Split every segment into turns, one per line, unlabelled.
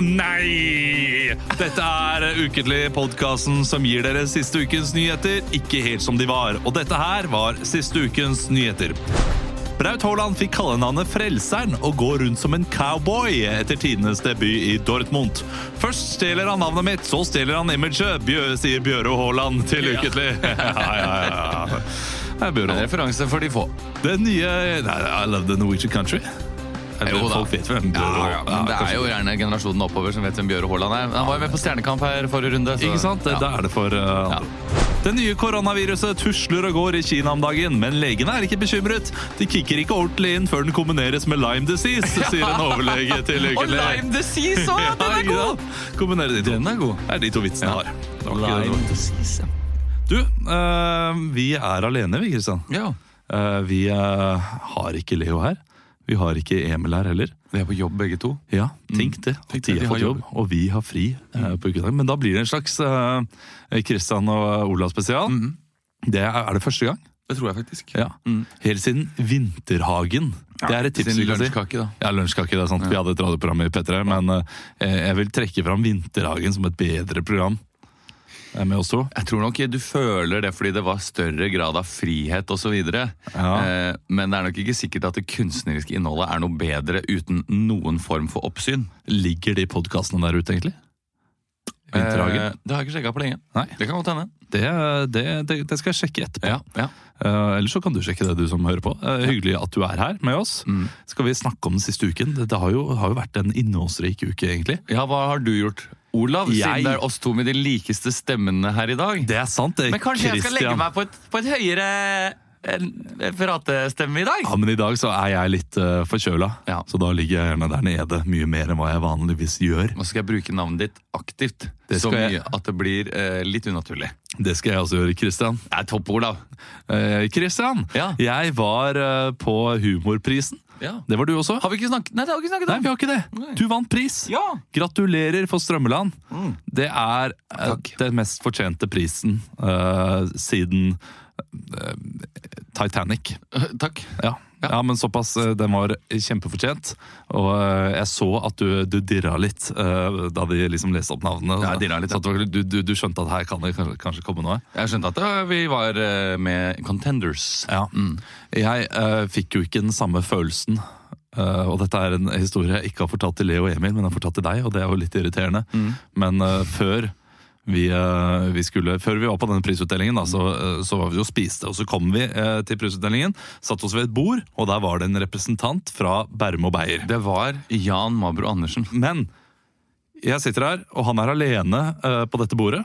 Nei! Dette er ukentlig podkasten som gir dere siste ukens nyheter ikke helt som de var. Og dette her var siste ukens nyheter. Braut Haaland fikk kallenavnet Frelseren og går rundt som en cowboy etter tidenes debut i Dortmund. Først stjeler han navnet mitt, så stjeler han imaget, Bjø, sier Bjøro Haaland til Ukentlig. Ja, ja, ja. ja. Det er Bjøro.
Referanse for de få.
Den nye Nei, I love the Norwegian country. Eller,
Jo da.
Folk vet hvem Bjøro
Ja, ja, men det er
kanskje-
jo gjerne generasjonen oppover som vet hvem Bjøre Haaland er. Han var jo med på Stjernekamp her forrige runde. så-
Ikke sant? Det,
altså, Ja.
det er det for eh, andre. Det nye koronaviruset tusler og går i Kina om dagen, men legene er ikke bekymret. De kicker ikke ordentlig inn før den kombineres med Lyme disease, sier en overlege til
Og
ukentlig.
Lime Disease òg!
Ja,
Den er
ikke
god!
sant? Kombinere de to.
Den er god.
Det er de to vitsene jeg har. Det var ikke det
Lime
det var.
Disease,
Du, eh, vi er alene, vi, Kristian.
ja. Ja.
Eh, vi eh, har ikke Leo her. Vi har ikke Emil her heller.
Vi er på jobb begge to.
Ja, tenk det.
Mm. Tenk
de
det,
har fått jobb, og vi har fri
Mm.
eh, på ukedag. Men da blir det en slags eh, Kristian og Olav spesial.
Mm.
Det er, er det første gang?
Det tror jeg faktisk.
Ja. Helt siden Vinterhagen. Det er et tips
Sin
vi kan si.
lunsjkake, da.
Ja, lunsjkake, det er sant. Vi hadde et radioprogram i P3, men eh, jeg vil trekke fram Vinterhagen som et bedre program eh, med oss to.
Jeg tror nok du føler det fordi det var større grad av frihet osv.
Ja.
Eh, men det er nok ikke sikkert at det kunstneriske innholdet er noe bedre uten noen form for oppsyn.
Ligger de podkastene der ute, egentlig? Vinterhagen?
Eh, det har jeg ikke sjekka på lenge.
Nei.
Det kan godt hende.
Det, det, det, det skal jeg sjekke etterpå.
Ja, ja.
Eh, Eller så kan du sjekke det, du som hører på. Eh, hyggelig at du er her med oss.
Mm.
Skal vi snakke om den siste uken? Det, det har, jo, har jo vært en innholdsrik uke, egentlig.
Ja, hva har du gjort? Olav,
Jeg-
siden det er oss to med de likeste stemmene her i dag.
Det er sant, det.
Men kanskje jeg skal legge
Christian.
meg på et, på et høyere eh, pratestemme i dag?
Ja, men i dag så er jeg litt uh, forkjøla,
Ja.
så da ligger jeg gjerne der nede mye mer enn hva jeg vanligvis gjør.
Nå skal jeg bruke navnet ditt aktivt.
Det
Så
skal
mye
jeg.
at det blir eh, litt unaturlig.
Det skal jeg også gjøre, Christian.
Det er topp, Olav.
Eh, Christian,
Ja.
jeg var eh, på Humorprisen.
Ja.
Det var du også?
Har vi ikke snakket Nei, det har vi ikke snakket
Nei,
om!
vi har ikke det.
Nei.
Du vant pris.
Ja.
Gratulerer for Strømmeland. Det er eh,
Mm. Takk.
den mest fortjente prisen eh, siden eh, Titanic.
Eh, Takk.
Ja.
Ja.
ja, men såpass. eh, Den var kjempefortjent. Og eh, jeg så at du, du dirra litt eh, da de liksom leste opp navnene.
Ja, jeg dirra litt,
Så at det var- du, du, du skjønte at her kan det kanskje, kanskje komme noe?
Jeg skjønte at eh, vi var eh, med Contenders.
Ja. Mm. Jeg eh, fikk jo ikke den samme følelsen. Eh, og dette er en historie jeg ikke har fortalt til Leo og Emil, men jeg har fortalt til deg, og det er jo litt irriterende. Men eh, før vi, eh, vi skulle, før vi var på denne prisutdelingen, da, så, eh, så var vi og spiste. Og så kom vi eh, til prisutdelingen, satt oss ved et bord, og der var det en representant fra Bærum og Beyer.
Det var Jan Mabro Andersen.
Men jeg sitter her, og han er alene eh, på dette bordet.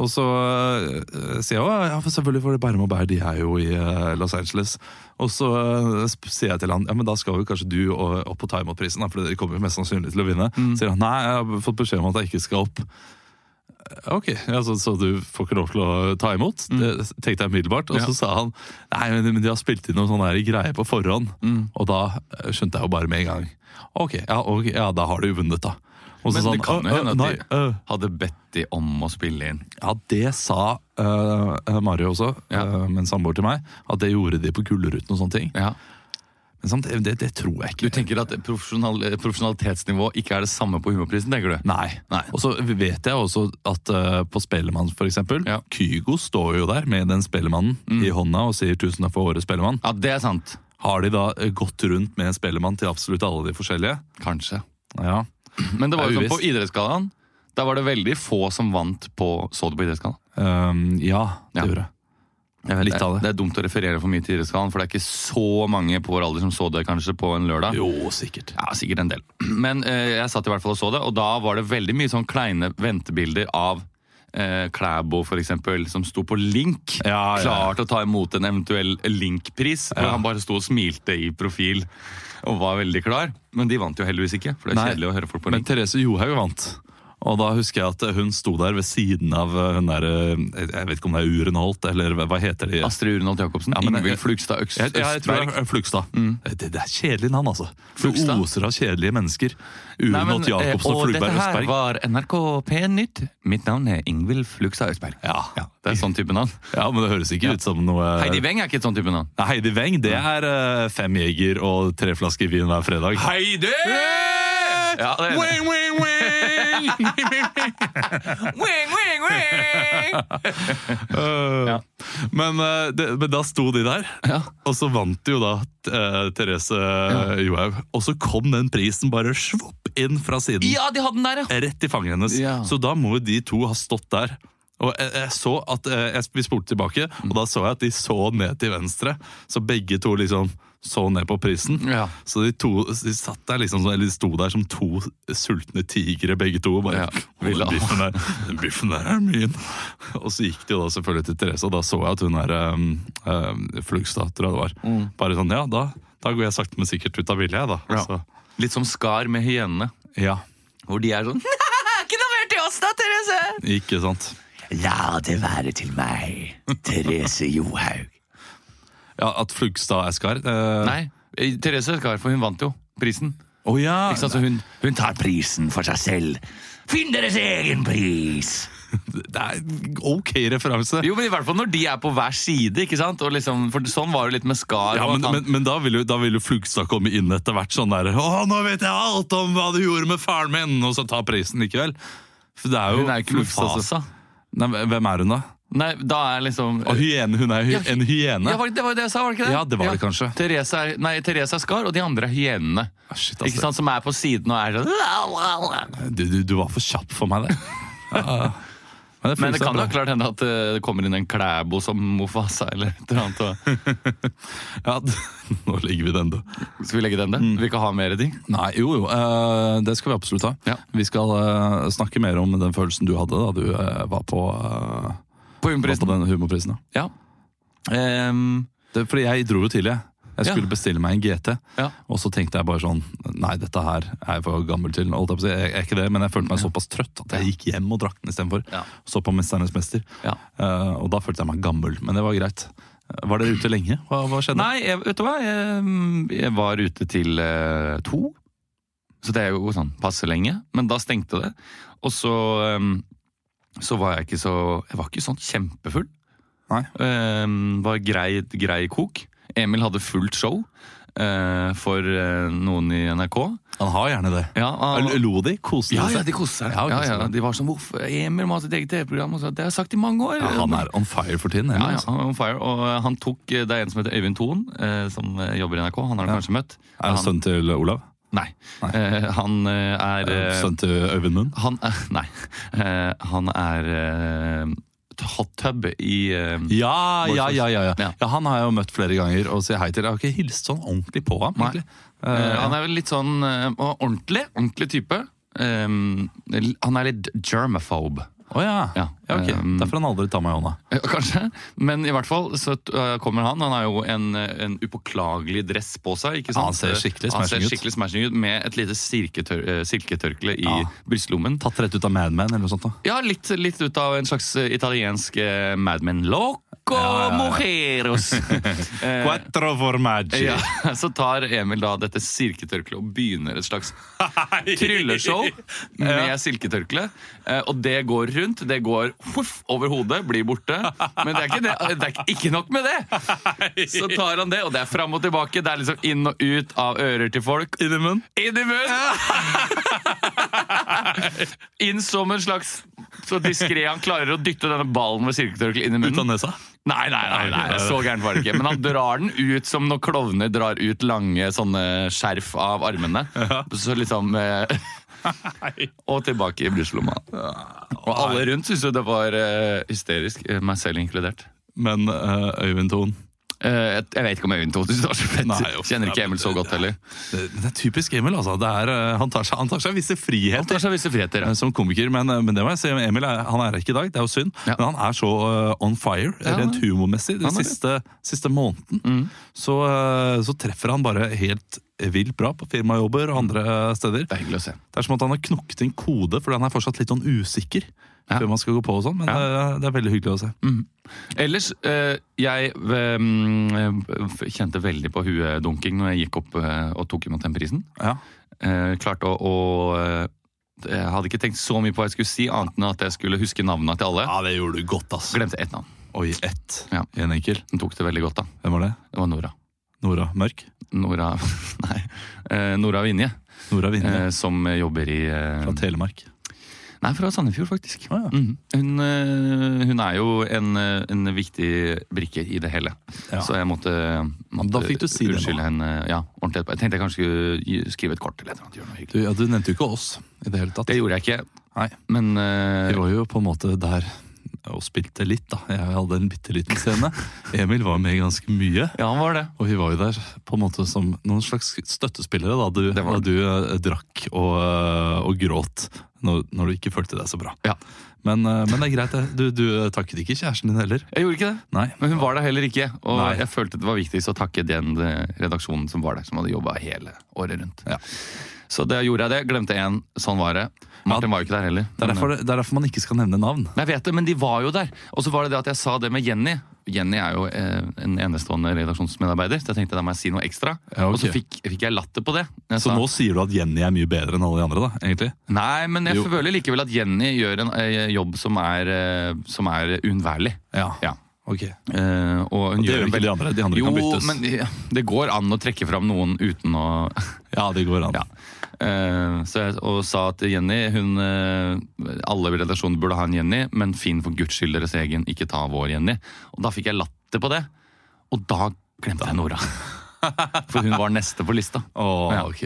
Og så eh, sier jeg at ja, for selvfølgelig for det Bærum og Bær, de er jo i eh, Los Angeles. Og så eh, sp- sier jeg til han ja, men da skal jo kanskje du og- opp på Timeout-prisen, da, for dere kommer jo mest sannsynlig til å vinne.
Mm.
sier han nei, jeg har fått beskjed om at jeg ikke skal opp. Eh, Ok, ja, så, så du får ikke lov til å ta imot? Det tenkte jeg umiddelbart. Og
Mm. Ja.
så sa han nei, men, men de har spilt inn noen sånne her greier på forhånd.
Mm.
Og da eh, skjønte jeg jo bare med en gang. Ok, ja, ok, ja da har du vunnet, da. Og så
Men
sa
det
han,
kan jo
«Øh,
hende
øh,
at
nei,
de-
øh».
Hadde bedt de om å spille inn.
Ja, det sa eh, Mario også,
Ja.
eh, med en samboer til meg, at det gjorde de på Gullruten og sånne ting.
Ja.
Men samtidig, det, det tror jeg
Du
ikke.
tenker at profesjonal, eh, profesjonalitetsnivå ikke er det samme på humorprisen, tenker du?
Nei.
Nei.
Og så vet jeg også at eh, på Spellemann for eksempel,
Ja. Mm.
Kygo står jo der med den Spellemannen i hånda og sier tusen takk for året, Spellemann.
Ja, det er sant.
Har de da eh, gått rundt med en Spellemann til absolutt alle de forskjellige?
Kanskje.
Ja.
Men det var
Det er
jo sånn på
uvisst.
Idrettsgallaen. Der var det veldig få som vant på Så du på Idrettsgallaen?
Um, ja, det
Ja.
gjorde jeg.
Jeg vet,
Litt
det,
av det.
det er dumt å referere for mye til Idrettsgallaen, for det er ikke så mange på vår alder som så det kanskje på en lørdag.
Jo, sikkert.
Ja, sikkert en del. Men eh, jeg satt i hvert fall og så det, og da var det veldig mye sånn kleine ventebilder av eh, Klæbo, for eksempel, som sto på link.
Ja, ja.
Klar til å ta imot en eventuell link-pris. hvor Han bare sto og smilte i profil og var veldig klar. Men de vant jo heldigvis ikke, for det er
Nei,
kjedelig å høre folk på
Men
link.
Therese Johaug vant. Og da husker jeg at hun sto der ved siden av eh, hun der eh, Jeg vet ikke om det er Urenholt, eller hva heter de?
Astrid Urenholt Jacobsen,
Ja, men jeg-
Ingvild Flugstad Øks-
Jeg, jeg, jeg tror
Østberg. Mm.
det er Flugstad. Eh, Det, det er kjedelig navn, altså. Det
Flugstad?
oser av kjedelige mennesker.
Nei, men,
Urenholt
eh,
Jacobsen og
og dette
Flugberg
her
Østberg.
var NRK P1-nytt. Mitt navn er Ingvild Flugstad Østberg.
Ja.
Det er sånn type navn.
ja, men det høres ikke ut som noe
Heidi Weng Mm. er ikke et sånn type navn.
Nei, Heidi Weng, det er eh, fem jeger og tre flasker vin hver fredag.
Heidi! Ja, det er det.
Weng, weng, weng! Eh, men, eh, det, men da sto de der,
Ja.
og så vant jo da eh, Therese Johaug. Og så kom den prisen bare svopp inn fra siden.
Ja, de hadde den der, ja!
Rett i fanget hennes.
Ja.
Så da må jo de to ha stått der. Og jeg, jeg så at eh, jeg, Vi spolte tilbake, og da så jeg at de så ned til venstre. Så begge to liksom så ned på prisen.
Ja.
Så de to de satt der liksom, sånn- eller de sto der som to sultne tigre, begge to. og Bare,
Ja.
«Å, den, biffen der, den biffen der er min! Og så gikk de jo da selvfølgelig til Therese, og da så jeg at hun er um, um, Flugstad, tror jeg det var. Bare sånn Ja, da, da går jeg sakte, men sikkert ut av bildet, jeg, da.
Mm. Ja.
Så,
Litt som Skar med hyenene,
ja.
hvor de er sånn Ikke noe mer til oss da, Therese!
Ikke sant.
La det være til meg, Therese Johaug.
Ja, At Flugstad er skar?
Nei, eh, Therese Skar, for hun vant jo prisen.
Å ja!
Ikke sant, så hun, hun tar prisen for seg selv. Finn deres egen pris!
Det er en ok referanse.
Jo, men i hvert fall når de er på hver side, ikke sant? Og liksom, for sånn var det litt med Skar.
Ja,
og
men,
at han-
men, men da vil jo, da vil jo Flugstad komme inn etter hvert sånn der Å, nå vet jeg alt om hva du gjorde med faren min! Og så ta prisen likevel. For det er altså. jo
hun er jo ikke noe
Flugstad som-
fasa.
Nei, men Hvem er hun, da?
Nei, da er liksom
Og hyene, hun er jo hy
Ja,
en hyene.
ja, var det, det var jo det jeg sa, var det ikke det?
Ja, det var det kanskje.
Therese er, nei, Therese er Skar, og de andre er hyenene.
Ah, shit,
Ikke
altså.
sant, Som er på siden og er sånn
Du, du, du var for kjapp for meg der. Ja. Men,
Men det kan jo
da
klart hende at eh, det kommer inn en Klæbo som Mofasa eller et eller annet. Og...
ja, d- Nå legger vi den, da.
Skal vi legge den der?
Mm.
Vi kan ha mer ting?
Nei, jo jo, eh, det skal vi absolutt ha.
Ja.
Vi skal eh, snakke mer om den følelsen du hadde da du eh, var på, eh,
På
var på
Humorprisen.
den humorprisen. Ja.
Ja. Ehm,
Det, fordi jeg dro jo tidlig. Jeg
Ja.
skulle bestille meg en GT,
Ja.
og så tenkte jeg bare sånn Nei, dette her er jeg for gammel til. Holdt jeg, på å si. jeg er ikke det, men jeg følte meg såpass trøtt at jeg gikk hjem og drakk den istedenfor.
Ja.
Så på 'Mesternes mester'.
Ja.
Eh, og da følte jeg meg gammel, men det var greit. Eh, Var dere ute lenge? Hva, hva skjedde?
Nei, jeg, vet du hva? Jeg, jeg var ute til eh, to. Så det er jo sånn passe lenge. Men da stengte det. Og så, em, så var jeg ikke så Jeg var ikke sånn kjempefull.
Nei.
Em, var grei, grei kok. Emil hadde fullt show eh, for eh, noen i NRK.
Han har gjerne det.
Ja, han-
L- Lo de? Koste
ja,
de
ja,
seg?
de koste seg.
Ja,
Ja,
de koste
ja,
seg.
de var sånn Hvorfor Emil må ha sitt eget TV-program? Og så, Det har jeg sagt i mange år.
Ja, han er on fire for tiden.
Ja,
Eller? Altså.
ja, han er on fire. Og eh, han tok, eh, det er en som heter Øyvind Thon, eh, som eh, jobber i NRK. Han har du kanskje møtt.
Er han sønnen til Olav?
Nei. Eh, han eh, er eh,
Sønnen til Øyvind Munn?
Han er Nei. Eh, han er eh, hot tub i eh,
Ja, ja,
Borchhus.
ja, ja, ja.
Ja.
ja. Han har jeg jo møtt flere ganger og sier hei til. Jeg har ikke hilst sånn ordentlig på ham.
Nei.
egentlig.
eh,
Eh,
Han er vel litt sånn eh, ordentlig. Ordentlig type. Eh, han er litt germaphobe.
Å ja.
Ja.
ja. ok.
Um,
Derfor han aldri tar meg i hånda.
Eh, Kanskje, men i hvert fall så eh, kommer han. Han har jo en, eh, en upåklagelig dress på seg. ikke sant?
Han ser skikkelig
Han ser
smashing ut.
skikkelig smashing ut Med et lite silketør eh, silketørkle i
Ja.
brystlommen.
Tatt rett ut av Mad Men eller noe sånt. da.
Ja, litt, litt ut av en slags eh, italiensk eh, Mad Men. Loco
Ja, ja, ja.
mojeros! Eh,
Quattro formaggi.
ja, så tar Emil da dette silketørkleet og begynner et slags trylleshow med silketørkle. Eh, Og det går rundt, det går huff, over hodet, blir borte. Men det er, ikke, det, det er ikke- ikke nok med det! Så tar han det, og det er fram og tilbake. Det er liksom inn og ut av ører til folk.
Inn i munnen.
Inn i munnen! Inn som en slags Så diskré han klarer å dytte denne ballen med silketørkle inn i
Ut av
munnen.
nesa.
Nei, nei, nei, nei, så gærent var det ikke. Men han drar den ut som når klovner drar ut lange sånne skjerf av armene. Så liksom eh, Og tilbake i brystlomma. Og alle rundt syntes jo det var eh, hysterisk, eh, meg selv inkludert.
men eh, Øyvind Thon
Eh, jeg, jeg vet ikke om Øyvind Thon syns det var så fett.
Nei, uff,
Kjenner ikke
ja, men
Emil så
det-
godt heller.
det, det er typisk Emil, altså. Det er, eh, han, tar seg, han tar seg visse
Han
friheter
tar seg visse friheter.
eh, som komiker, men, eh, men det må jeg si. Emil er, han er her ikke i dag, det er jo synd.
Ja.
Men han er så eh, on fire,
Ja,
rent humormessig, den
han er det. Mm.
siste, siste måneden. Så, eh, så treffer han bare helt vilt bra på firmajobber og andre eh, steder.
Det er hyggelig å se.
Det er som at han har knokket inn kode, fordi han er fortsatt litt sånn usikker.
Ja.
Før man skal gå på og sånn, Men eh, det er veldig hyggelig å se.
Ellers, eh, jeg eh, f- kjente veldig på huedunking når jeg gikk opp eh, og tok imot den prisen.
Ja.
Eh, klarte å, å eh, Jeg hadde ikke tenkt så mye på hva jeg skulle si, annet enn at jeg skulle huske navnene til alle.
det gjorde du godt, ass.
Glemte ett navn.
Oi, ett.
Ja.
En enkel.
Hun tok det veldig godt, da.
Hvem var det?
Det var Nora.
Nora Mørk?
Nora Nei. eh, Nora Vinje,
Nora Vinje
eh, som jobber i eh,
fra Telemark.
Nei, fra Sandefjord, faktisk.
Å, ja.
Mhm. hun, eh, hun er jo en, eh, en viktig brikke i det hele.
Ja.
Så jeg måtte, måtte
Da fikk du si det nå.
unnskylde henne ja, ordentlig. etterpå. Jeg tenkte jeg kanskje skulle gi- skrive et kort eller et eller annet. gjøre noe hyggelig.
Du, ja, du nevnte jo ikke oss i det hele tatt.
Det gjorde jeg ikke,
Nei,
men
Vi
eh,
var jo på en måte der og spilte litt, da. Jeg hadde en bitte liten scene. Emil var med ganske mye.
ja, han var det.
Og vi var jo der på en måte som noen slags støttespillere da du,
Det var
da du eh, drakk og, eh, og gråt når, når du ikke følte deg så bra.
Ja.
Men, eh, men det er greit, det. Du, du takket ikke kjæresten din heller.
Jeg gjorde ikke det.
Nei.
Men hun var der heller ikke, og
Nei.
jeg følte det var viktigst å takke den eh, redaksjonen som var der, som hadde jobba hele året rundt.
Ja.
Så det gjorde jeg det. Glemte én. Sånn var det. Martin var jo ikke der heller.
Det er,
men- eh,
derfor, det er derfor man ikke skal nevne navn.
Nei, Jeg vet det, men de var jo der. Og så var det det at jeg sa det med Jenny. Jenny er jo eh, en enestående redaksjonsmedarbeider, så jeg tenkte da må jeg si noe ekstra.
Ja, ok.
Og så fikk, fikk jeg latter på det. Jeg
Så
sa,
nå sier du at Jenny er mye bedre enn alle de andre, da, egentlig?
Nei, men jeg
Jo.
føler likevel at Jenny gjør en eh, jobb som er, eh, som er uunnværlig.
Ja.
Ja.
Ok.
Eh, og
Og
hun
det gjør
en
ikke
veldig-
de andre. De andre
jo,
kan byttes.
men ja, det går an å trekke fram noen uten å
Ja, det går an.
Ja. Eh, så jeg, og sa at Jenny hun, eh, Alle i redaksjonen burde ha en Jenny, men finn for guds skyld deres egen, ikke ta vår Jenny. Og da fikk jeg latter på det, og da glemte jeg Nora. For hun var neste på lista.
Åh,
Ja.
ok.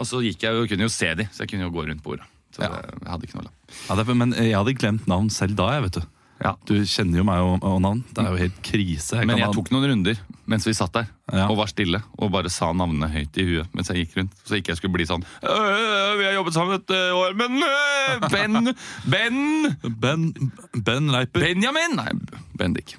Og så gikk jeg jo, kunne jo se de, så jeg kunne jo gå rundt bordet. Så det, jeg hadde ikke noe lapp.
Ja, derfor, men jeg hadde glemt navn selv da, jeg, vet du.
Ja.
Du kjenner jo meg og, og navn. Det er jo helt krise. Jeg
Men
kan
jeg
ha-
tok noen runder mens vi satt der
Ja.
og var stille og bare sa navnene høyt i huet mens jeg gikk rundt. Så ikke jeg skulle bli sånn «Øh, øh, Vi har jobbet sammen et øh, år, men øh, Ben! Ben!
Ben, ben Leiper.
Benjamin! Nei, Bendik.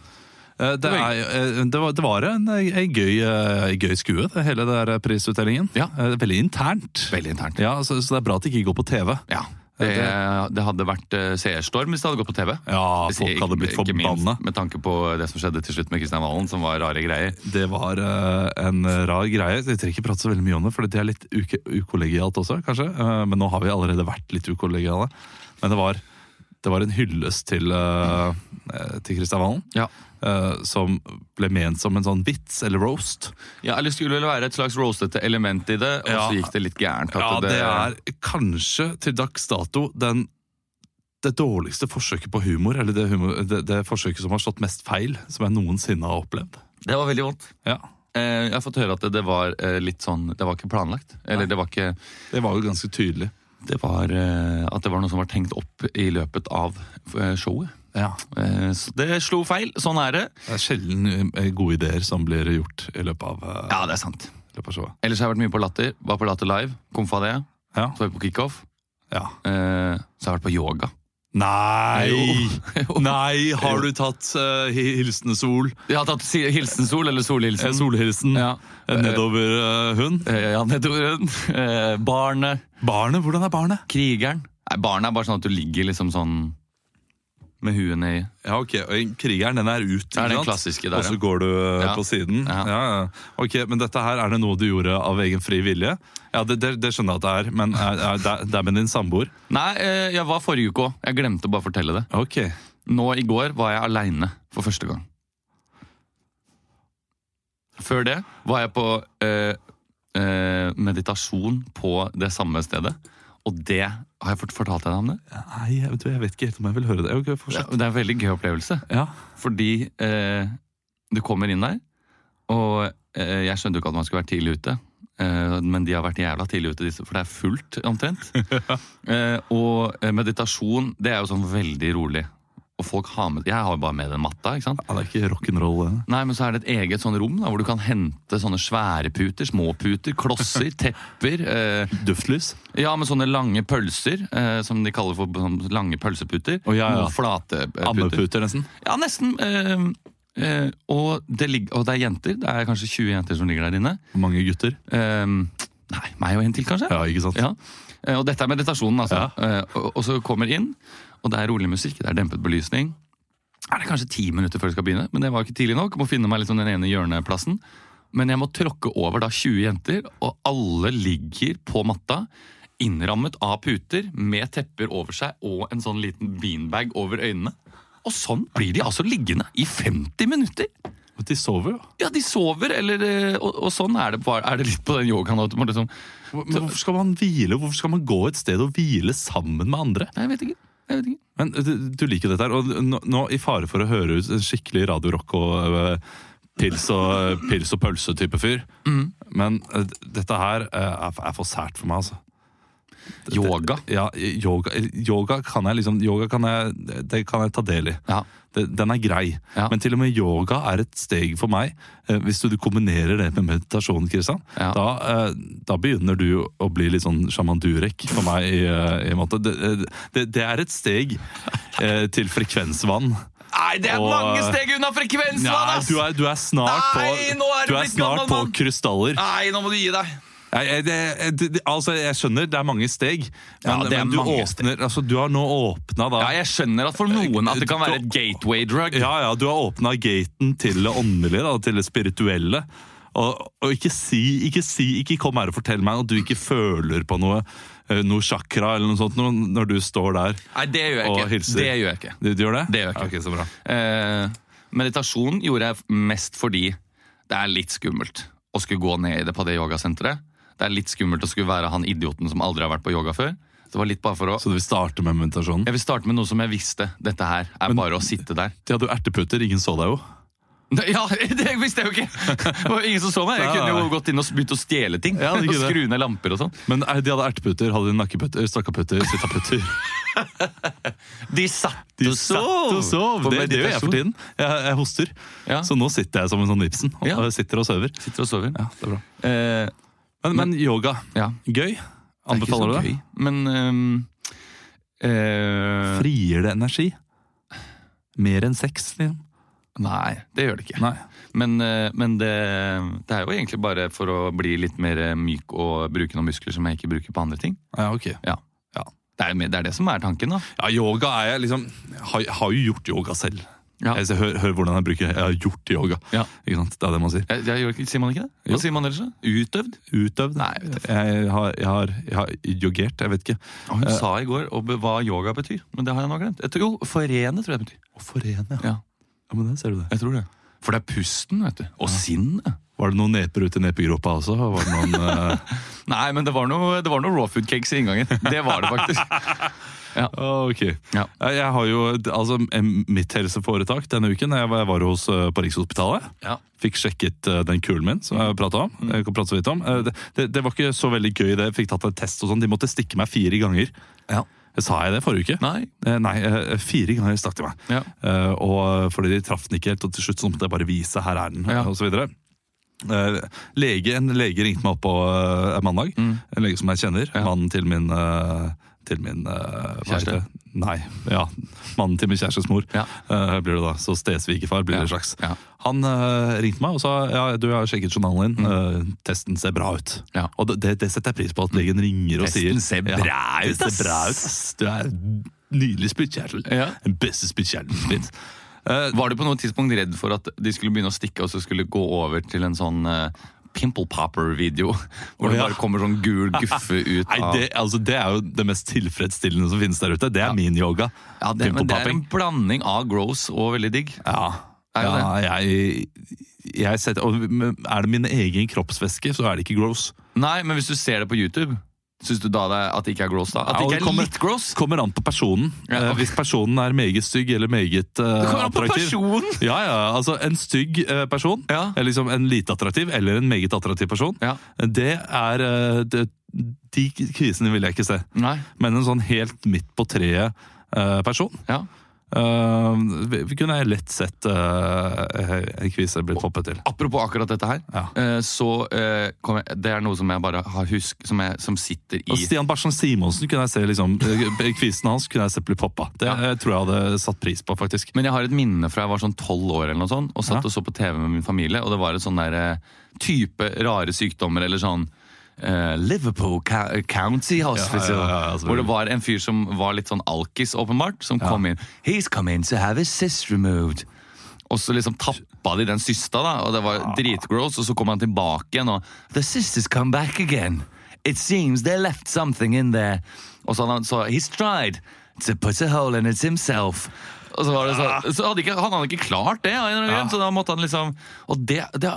Eh, Det, er, eh, det, var, det var en, en gøy, eh, gøy skue, det, hele den der prisutdelingen.
Ja.
Eh, Veldig internt.
Veldig internt.
Ja, så, så det er bra at det ikke går på TV.
Ja. Det, det hadde vært eh, seerstorm hvis det hadde gått på TV.
Ja,
Hvis-
folk hadde blitt
ikke minst
forbanna.
Med tanke på det som skjedde til slutt med Kristian Valen, som var rare greier.
Det var eh, en rar greie. Jeg trenger ikke prate så veldig mye om det, for det er litt uke, ukollegialt også, kanskje. Eh, men nå har vi allerede vært litt ukollegiale. Men det var, det var en hyllest til, eh, eh, til Kristian Valen.
Ja.
eh, som ble ment som en sånn vits eller roast.
eller skulle vel være et slags roastete element i det, og
Ja.
så gikk det litt gærent. at
Ja, det er kanskje til dags dato den det dårligste forsøket på humor, eller det, humor, det, det forsøket som har slått mest feil, som jeg noensinne har opplevd.
det var veldig vondt.
Ja,
Eh, Jeg har fått høre at det, det var eh, litt sånn Det var ikke planlagt. Eller det var ikke
Det var jo ganske tydelig.
Det var eh, at det var noe som var tenkt opp i løpet av eh, showet.
Ja,
Eh, Så det slo feil. Sånn er det.
Det er sjelden eh, gode ideer som blir gjort i løpet av, eh,
Ja, det er sant.
i løpet av showet.
Ellers har jeg vært mye på Latter. Var på Latter Live. Komfa det.
Ja.
Så var jeg på kickoff.
ja.
Eh, så har jeg vært på yoga.
Nei!
Jo.
Nei, har du tatt uh, hilsende sol?
Jeg har tatt si- hilsen-sol, eller
Eh,
solhilsen.
Solhilsen?
Ja.
Eh, Nedover eh, hun?
Eh, ja, nedover den. Eh, barnet.
Barnet? Hvordan er barnet?
Krigeren. Nei, barnet er bare sånn at du ligger liksom sånn med huet nedi.
Ja, ok, og en Krigeren, den er ut. ikke
Ja, den
sant?
klassiske der,
Og så
ja.
går du eh,
Ja.
på siden.
Ja.
Ja. Ja, Ok, Men dette her, er det noe du gjorde av egen fri vilje? Ja, det, det, det skjønner jeg at det er, men er, er, det, det er med din samboer?
Nei, eh, jeg var forrige uke òg. Jeg glemte å bare fortelle det.
Ok.
Nå i går var jeg aleine for første gang. Før det var jeg på eh, eh, meditasjon på det samme stedet. Og det Har jeg fort- fortalt deg om det?
Nei, jeg, vet- jeg vet ikke helt om jeg vil høre det. Ok,
Ja,
fortsett.
Det er en veldig gøy opplevelse.
Ja.
Fordi eh, du kommer inn der, og eh, jeg skjønte jo ikke at man skulle være tidlig ute. Eh, men de har vært jævla tidlig ute, disse, for det er fullt omtrent. eh, og eh, meditasjon, det er jo sånn veldig rolig. Og folk har med, Jeg har jo bare med den matta. ikke sant?
Ja, det er ikke rock'n'roll. eh. det.
Nei, men så er det et eget sånn rom da, hvor du kan hente sånne svære puter, små puter, klosser, tepper. Eh,
Duftlys.
ja, med sånne lange pølser, eh, som de kaller for sånn lange pølseputer.
Å, ja, ja.
Noen flate eh, puter.
Ammeputer, nesten.
Ja, nesten. Eh, eh, og, det ligger, og det er jenter. Det er kanskje 20 jenter som ligger der inne.
Mange gutter.
Eh, nei, meg og en til, kanskje.
Ja, ikke sant?
Ja. Eh, Og dette er meditasjonen, altså.
Ja.
Eh, Og, og så kommer inn, og det er rolig musikk, det er dempet belysning. Er det kanskje ti minutter før det skal begynne, men det var ikke tidlig nok. Jeg Må finne meg liksom den ene hjørneplassen. Men jeg må tråkke over da 20 jenter, og alle ligger på matta. Innrammet av puter, med tepper over seg og en sånn liten beanbag over øynene. Og sånn blir de altså liggende i 50 minutter!
Og De sover jo.
Ja, de sover, eller eh, Og, og sånn er det, bare- er det litt på den yogaen. at man Liksom.
Men hvorfor skal man hvile? Hvorfor skal man gå et sted og hvile sammen med andre?
Nei, Jeg vet ikke. Jeg vet ikke.
Men du, du liker jo dette her, og nå, nå i fare for å høre ut en skikkelig Radio Rock og øh, pils og, eh, pils og pølse-type fyr, men øh, dette her øh, er, er for sært for meg, altså. Det-
Yoga.
Det, ja, yoga, yoga kan jeg liksom Yoga kan jeg, det kan jeg ta del i.
Ja.
Det, den er grei.
Ja.
Men til og med yoga er et steg for meg. Eh, hvis du kombinerer det med meditasjon, Kristian,
Ja.
da, eh, da begynner du å bli litt sånn sjaman durek for meg. i, eh, i en måte. Det, det, det er et steg eh, til frekvensvann.
Nei, det er
Og-
mange steg unna frekvensvann,
Nei,
ass!
du er, du er snart på,
Nei, nå er du
du er
blitt
snart
gammel
på
mann.
krystaller.
Nei, nå må du gi deg.
Nei, jeg- det, det, det, altså, jeg skjønner det er mange steg, men,
Ja, det er
men du,
mange
åpner, altså, du har nå åpna da
Ja, jeg skjønner at for noen at det kan være et gateway drug.
Ja, ja, du har åpna gaten til det åndelige, da, til det spirituelle. Og, og ikke si, ikke si, ikke kom her og fortell meg at du ikke føler på noe, eh, noe chakra eller noe sånt når, når du står der
Nei, det gjør jeg
og
ikke.
hilser.
Det gjør jeg ikke.
Du, du gjør det?
Det gjør jeg ikke.
Ok, så bra.
Eh, meditasjon gjorde jeg mest fordi det er litt skummelt å skulle gå ned i det på det yogasenteret. Det er litt skummelt å skulle være han idioten som aldri har vært på yoga før. Så det var litt bare for å...
Så du vil starte med meditasjonen?
Jeg vil starte med noe som jeg visste. Dette her er bare å sitte der.
De hadde jo erteputter, ingen så deg jo.
Ne- Ja, det visste jeg jo ikke! Det var ingen som så meg. Jeg
Nei,
kunne jo
nei.
gått inn og begynt å stjele ting.
Ja, du
og
kunne.
skru ned lamper og sånn.
Men eh, de hadde erteputter, hadde nakkeputter, eh, stakkaputter, sittaputter.
De satt
De
og sov!
satt og sov.
på
Det, det gjør jeg
meditasjon.
for tiden. Jeg, jeg hoster.
Ja.
Så nå sitter jeg som en sånn Ibsen og
Ja.
og sitter og sover.
Sitter og sover.
Ja, det er bra.
Eh,
Men, men yoga,
ja.
gøy? Anbefaler du
sånn
det?
Men ehm, eh,
Frier det energi? Mer enn sex, liksom?
Nei, det gjør det ikke.
Nei.
Men, eh, men det, det er jo egentlig bare for å bli litt mer eh, myk og bruke noen muskler som jeg ikke bruker på andre ting.
Ja, ok.
Ja.
Ja.
Det, er, jo mer- det er det som er tanken, da.
Ja, yoga er jeg liksom Jeg har, jeg har jo gjort yoga selv.
Ja.
Jeg, ser- hør, hør hvordan jeg bruker Jeg har gjort yoga.
Ja.
Ikke sant? Det er det man sier.
Jeg, jeg, gjør ikke- sier man ikke det? Hva
Jo.
sier man ellers? da? Utøvd?
Utøvd?
Nei, jeg vet
jeg har, jeg har, jeg har yogert. Jeg vet ikke.
Og hun sa i går og be- hva yoga betyr, men det har jeg nå glemt. Jeg tror, jo, forene tror jeg det betyr.
Å forene,
Ja,
ja. Men det ser du det.
jeg tror det. For det er pusten, vet du. Og sinnet.
Var det noen neper ute i nepegropa også? Var det noen... eh,
Nei, men det var noe, det var noe raw food cakes i inngangen. Det var det faktisk.
Ah, Ok.
Ja.
Jeg jeg har jo altså, em, mitt helseforetak denne uken. Jeg var- jeg var hos, eh, på Rikshospitalet.
Ja. Mm.
Fikk sjekket eh, den kulen min, som jeg prata om. Jeg kan prate så vidt om. Eh, Det, det, det var ikke så veldig gøy, det. Jeg fikk tatt en test og sånn. De måtte stikke meg fire ganger.
Ja.
Sa jeg det forrige uke?
Nei.
Eh, Nei, eh, fire ganger stakk de meg.
Ja.
Eh, Og fordi de traff den ikke helt, og til slutt så måtte jeg bare vise 'her er den',
Ja.
og så videre. Eh, Lege, en lege ringte meg opp på eh, en mandag, en lege som jeg kjenner.
Mm. Ja.
Mannen til min, eh, til min eh, hva heter det?
Kjæreste?
Nei, ja. Mannen til min kjærestes mor.
Ja.
eh, blir det da, Så stesvigerfar blir
Ja.
det en slags.
Ja.
Han eh, ringte meg og sa ja, du jeg har sjekket journalen din, eh, testen ser bra ut.
Mm. Ja.
Og det- det, det setter jeg pris på, at legen ringer og sier
Testen ser bra
ja,
ut,
det ser bra ut,
ass.
ass. Du er en nydelig spyttkjertel.
Ja.
Den beste spyttkjertelen som fins. Eh,
Var du på noe tidspunkt redd for at de skulle begynne å stikke, og så skulle gå over til en sånn eh, pimple popper-video?
Å,
Hvor det
ja.
bare kommer sånn gul guffe ut
Nei,
av
det, altså, det er jo det mest tilfredsstillende som finnes der ute. Det er min yoga.
ja, det, men det er en
Pimple-popping.
blanding av gross og veldig digg.
Ja.
Er det
ja, jeg, jeg setter, og er det min egen kroppsvæske, så er det ikke gross.
Nei, men hvis du ser det på YouTube, syns du da det er, at det ikke er gross da?
Ja,
At det
og
ikke
det
er
kommer-
litt gross?
Kommer an på personen.
Ja,
Eh,
ok.
Hvis personen er meget stygg eller meget eh,
Det kommer an på
attraktiv.
personen!
Ja, ja, altså En stygg eh, person,
Ja.
eller liksom en lite attraktiv eller en meget attraktiv person,
Ja.
det er eh, det, De krisene vil jeg ikke se.
Nei.
Men en sånn helt midt på treet-person,
Ja.
Eh, vi, vi kunne lett sett eh, en kvise blitt poppet til.
Apropos akkurat dette her,
Ja.
eh, så eh, kom jeg, Det er noe som jeg bare har husk, som, jeg, som sitter
Og
i
Stian Barsan Simonsen kunne jeg se liksom, eh, kvisen hans kunne jeg sett bli poppa. Det eh, tror jeg hadde satt pris på, faktisk.
Men jeg har et minne fra jeg var sånn tolv år eller noe sånt, og satt
Ja.
og så på TV med min familie, og det var et sånn der eh, type rare sykdommer eller sånn eh, Liverpool Ca- County Hospital.
Ja, ja, ja, ja, selvfølgelig.
hvor det var en fyr som var litt sånn alkis, åpenbart, som kom inn. He's come in to have his cyst removed. Og så liksom tappa de den cysta, da, og det var dritgross. Og så kom han tilbake igjen og The cyst has come back again. It seems they left something in there. Og så hadde han så He's tried to put a hole in it himself. Og så var det så, så hadde ikke, Han hadde ikke klart det, av en eller annen grunn, så da måtte han liksom Og det, det,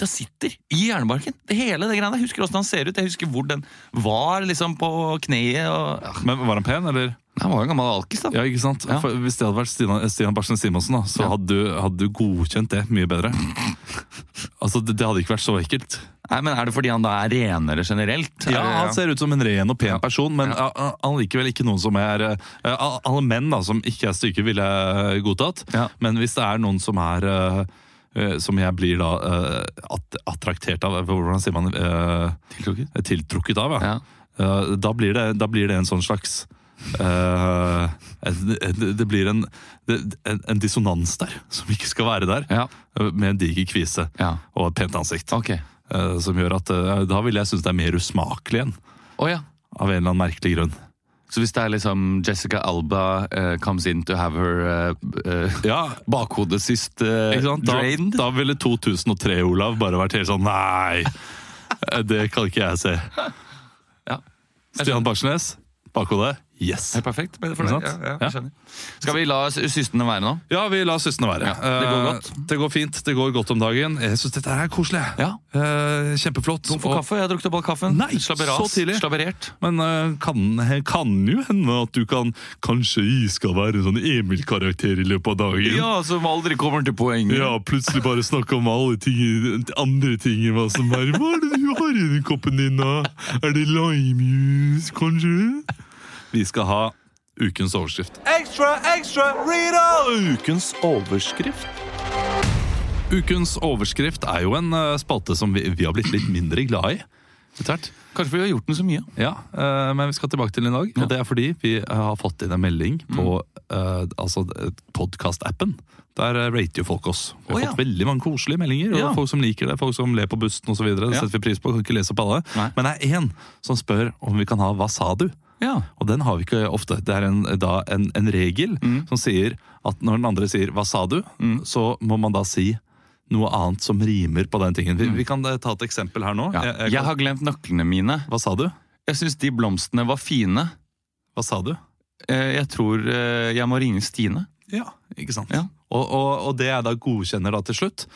det sitter i hjernebarken, det hele det greiene. Jeg husker åssen han ser ut, jeg husker hvor den var liksom på kneet. og... Ja.
Men var han pen, eller?
Han var jo en gammel alkis, da.
Ja, ikke sant?
Ja.
For hvis det hadde vært Stian, Stian Barsen Simonsen, da, så
Ja.
hadde, du, hadde du godkjent det mye bedre. altså, det, det hadde ikke vært så ekkelt.
Nei, men Er det fordi han da er renere generelt? Er
Ja,
det-
Han ser ut som en ren og pen person, men ja. ja, allikevel ikke noen som er eh, al- Alle menn da, som ikke er stygge, ville jeg godtatt.
Ja.
Men hvis det er noen som er eh, eh, Som jeg blir da eh, att attraktert av Hvordan sier man eh,
Tiltrukket?
Tiltrukket av, ja.
Ja.
Eh, da, blir det, da blir det en sånn slags eh, et- det, det blir en, det, en, en dissonans der, som ikke skal være der.
Ja.
eh, Med en diger kvise
Ja.
og et pent ansikt.
Ok.
Eh, som gjør at eh, da vil jeg synes det er mer usmakelig igjen.
Å ja.
Av en eller annen merkelig grunn.
Så hvis det er liksom Jessica Alba eh, comes in to have her eh, eh,
Ja,
bakhodet sist eh,
ikke sant? Da,
drained
da ville 2003 Olav bare vært helt sånn Nei, eh, det kan ikke jeg se.
Ja.
Stian Barsnes, bakhodet. Yes.
Helt perfekt. men for
Ikke
deg.
sant?
Ja, ja,
Ja.
jeg skjønner. Skal vi la sy- systene være nå?
Ja, vi lar søstrene være.
Ja, det går
Eh,
godt.
Det går fint. Det går godt om dagen. Jeg syns dette her er koselig. jeg.
Ja.
Eh, kjempeflott.
Tom for
Og-
kaffe. Jeg har drukket opp all kaffen.
Nei,
Slabberas.
så tidlig.
Slabberert.
Men eh, kan, kan jo hende at du kan Kanskje jeg skal være en sånn Emil-karakter i løpet av dagen.
Ja, som aldri kommer til poenget.
Ja, plutselig bare snakke om alle ting, andre ting enn hva som er Hva er det du har i den koppen din, da? Er det limejuice, kanskje? Vi skal ha ukens overskrift.
Ukens overskrift.
Ukens overskrift er jo en eh, spalte som vi, vi har blitt litt mindre glad i. Etter hvert.
Kanskje fordi vi har gjort den så mye.
Ja, eh, men vi skal tilbake til den i dag. Og det er fordi vi eh, har fått inn en melding på
Mm.
eh, altså, podkast-appen. Der eh, rater jo folk oss. Vi har
Å, ja.
fått veldig mange koselige meldinger. Og
Ja.
Folk som liker det, folk som ler på bussen osv. Det
Ja.
setter vi pris på. Kan ikke lese opp alle.
Nei.
Men det er én som spør om vi kan ha 'Hva sa du?'
Ja.
Og den har vi ikke ofte. Det er en, da en, en regel
Mm.
som sier at når den andre sier 'hva sa du', så må man da si noe annet som rimer på den tingen. Vi, vi kan eh, ta et eksempel her nå.
Mm. Ja.
Jeg-
Jeg,
jeg kan-
har glemt nøklene mine.
Hva sa du?
Jeg syns de blomstene var fine.
Hva sa du?
Eh, Jeg tror eh, jeg må ringe Stine.
Ja, ikke sant?
Ja.
Og, og, og det jeg da godkjenner da til slutt,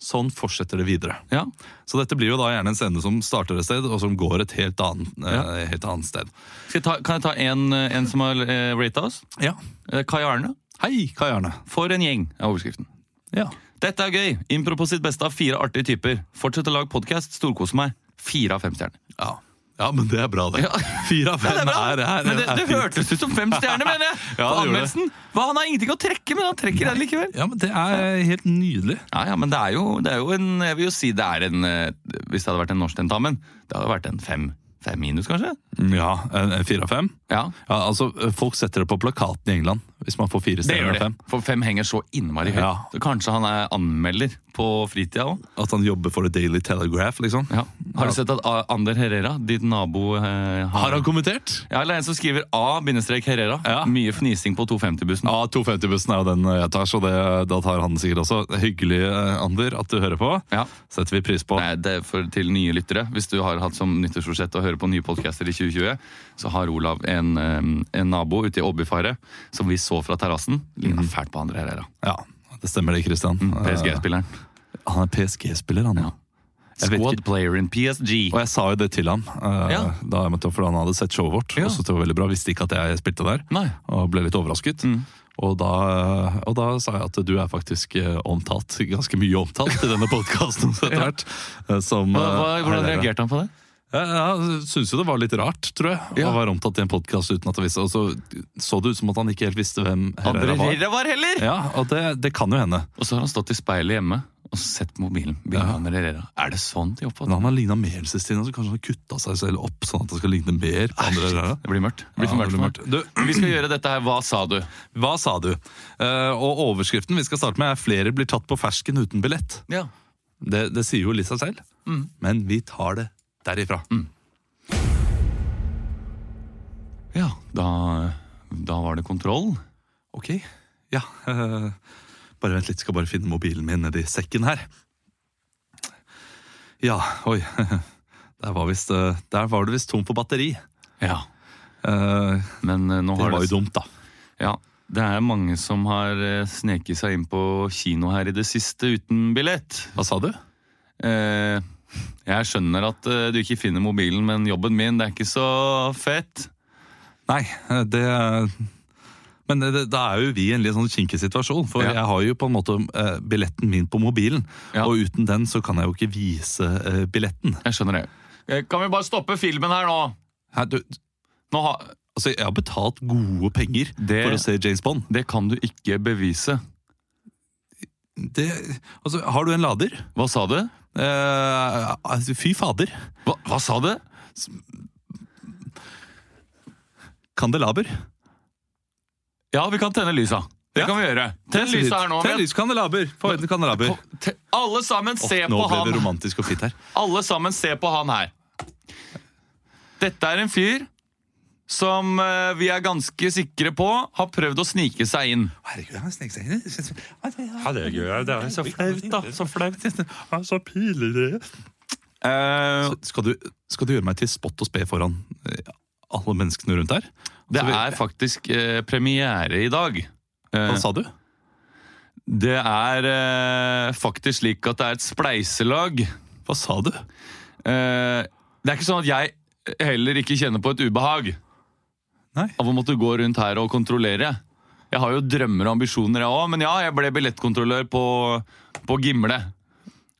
sånn fortsetter det videre.
Ja.
Så dette blir jo da gjerne en scene som starter et sted, og som går et helt annet,
Ja.
eh, helt annet sted.
Skal jeg ta, kan jeg ta en, eh, en som har eh, rata oss?
Ja.
Eh, Kai Arne.
Hei, Kai Arne.
For en gjeng, er overskriften.
Ja.
Dette er gøy! Impro på sitt beste av fire artige typer. Fortsett å lage podkast, storkos meg. Fire av fem stjerner.
Ja. ja, men det er bra, det.
Ja.
Fire av fem er, er,
Men det,
er
det
fint.
hørtes ut som fem stjerner, mener jeg!
Ja, det gjorde
på
det.
anmeldelsen. Hva, han har ingenting å trekke, men han trekker det likevel.
Ja, men det er helt nydelig.
Ja, ja, men det er, jo, det er jo en Jeg vil jo si det er en eh, Hvis det hadde vært en norsk tentamen, det hadde vært en fem, fem minus, kanskje?
Ja, en, en fire av fem.
Ja,
Ja, altså, folk setter det på plakaten i England, hvis man får fire
det gjør
stjerner av
det.
fem.
For fem henger så innmari høyt.
Ja.
Så kanskje han er anmelder på fritida òg.
At han jobber for The Daily Telegraph, liksom.
Ja. Har
Ja.
du sett at A- Ander Herrera, ditt nabo eh,
Har han kommentert?
Ja, eller en som skriver A-Herrera.
Ja.
Mye fnising på 250-bussen.
Ja, 250-bussen er jo den jeg tar, så det, da tar han sikkert også. Hyggelig, eh, Ander, at du hører på.
Ja.
Setter vi pris på.
Nei, det er for, til nye lyttere. Hvis du har hatt som nyttårsforsett å høre på nye podcaster i 2020, så har Olav en, eh, en nabo ute i Åbyfaret som vi så fra terrassen. Ligna fælt på Ander Herrera.
Ja, det stemmer det, Christian.
Mm,
Eh,
PSG-spilleren.
han er PSG-spiller, han.
Ja.
Jeg vet
Squad player in PSG.
Og jeg sa jo det til ham, eh,
Ja.
da jeg møtte opp, for han hadde sett showet vårt.
Ja.
Og så det var veldig bra, visste ikke at jeg spilte der,
Nei. Mm.
og ble litt overrasket. Og da, og da sa jeg at du er faktisk eh, omtalt, ganske mye omtalt i denne podkasten etter hvert. eh, som,
Hva, hva,
eh,
hvordan
Herrera.
reagerte han på det?
Jeg, jeg syns jo det var litt rart, tror jeg,
Ja.
å være omtalt i en podkast uten at det visste Og så så det ut som at han ikke helt visste hvem
Andre
Herrera var.
Herrera var heller!
Ja, og det, det kan jo hende.
Og så har han stått i speilet hjemme og sett på mobilen. Bildet av Andre Herrera. Er det sånn de
Men
oppfatter det?
han har ligna mer siste tiden, så kanskje han har kutta seg selv opp sånn at det skal ligne mer på andre Herrera.
Det blir mørkt. Det blir
Ja,
for mørkt
det blir
for meg. Vi skal gjøre dette her. Hva sa du?
Hva sa du? Eh, og overskriften vi skal starte med er 'Flere blir tatt på fersken uten billett'.
Ja.
Det, det sier jo litt seg selv,
Mm.
men vi tar det derifra.
Ja, da, da var det kontroll.
Ok, ja. eh, bare vent litt, skal bare finne mobilen min nedi sekken her. Ja, oi. Der var, visst, eh, der var det visst tom for batteri.
Ja.
Eh,
Men eh, nå
det
har
var jo dumt, da.
Ja, det er mange som har eh, sneket seg inn på kino her i det siste uten billett.
Hva sa du?
Eh, jeg skjønner at eh, du ikke finner mobilen, men jobben min, det er ikke så fett.
Nei, eh, det Men eh, det, det- da er jo vi i en litt sånn kinkig situasjon. For
Ja.
jeg har jo på en måte eh, billetten min på mobilen.
Ja.
Og uten den så kan jeg jo ikke vise eh, billetten.
Jeg skjønner det. Eh, Kan vi bare stoppe filmen her nå?
Hæ, du,
nå ha,
altså, jeg har betalt gode penger
Det-
for å se James Bond.
det kan du ikke bevise.
Det, altså, har du en lader?
Hva sa du?
Eh, altså, fy fader.
Hva, hva sa du?
Kandelaber.
Ja, vi kan tenne lysa. Det
Ja.
kan vi gjøre. Tenn lysa her nå.
Tenn
men-
lys, kandelaber. Få øynene kandelaber.
Ko- te- Alle sammen, se
Nå
på
ble det
han
romantisk og fint her.
Alle sammen, se på han her. Dette er en fyr som eh, vi er ganske sikre på har prøvd å snike seg inn.
Herregud, han snek seg inn.
Herregud, det er så flaut, da. Så flaut. Det er så pinlig. det.
Eh,
Skal du, skal du gjøre meg til spott og spe foran eh, alle menneskene rundt her?
det
Så vi-
er faktisk eh, premiere i dag. Eh,
Hva sa du?
det er eh, faktisk slik at det er et spleiselag.
Hva sa du?
Eh, det er ikke sånn at jeg heller ikke kjenner på et ubehag
Nei.
av å måtte gå rundt her og kontrollere. Jeg har jo drømmer og ambisjoner, jeg òg, men ja, jeg ble billettkontrollør på, på Gimle.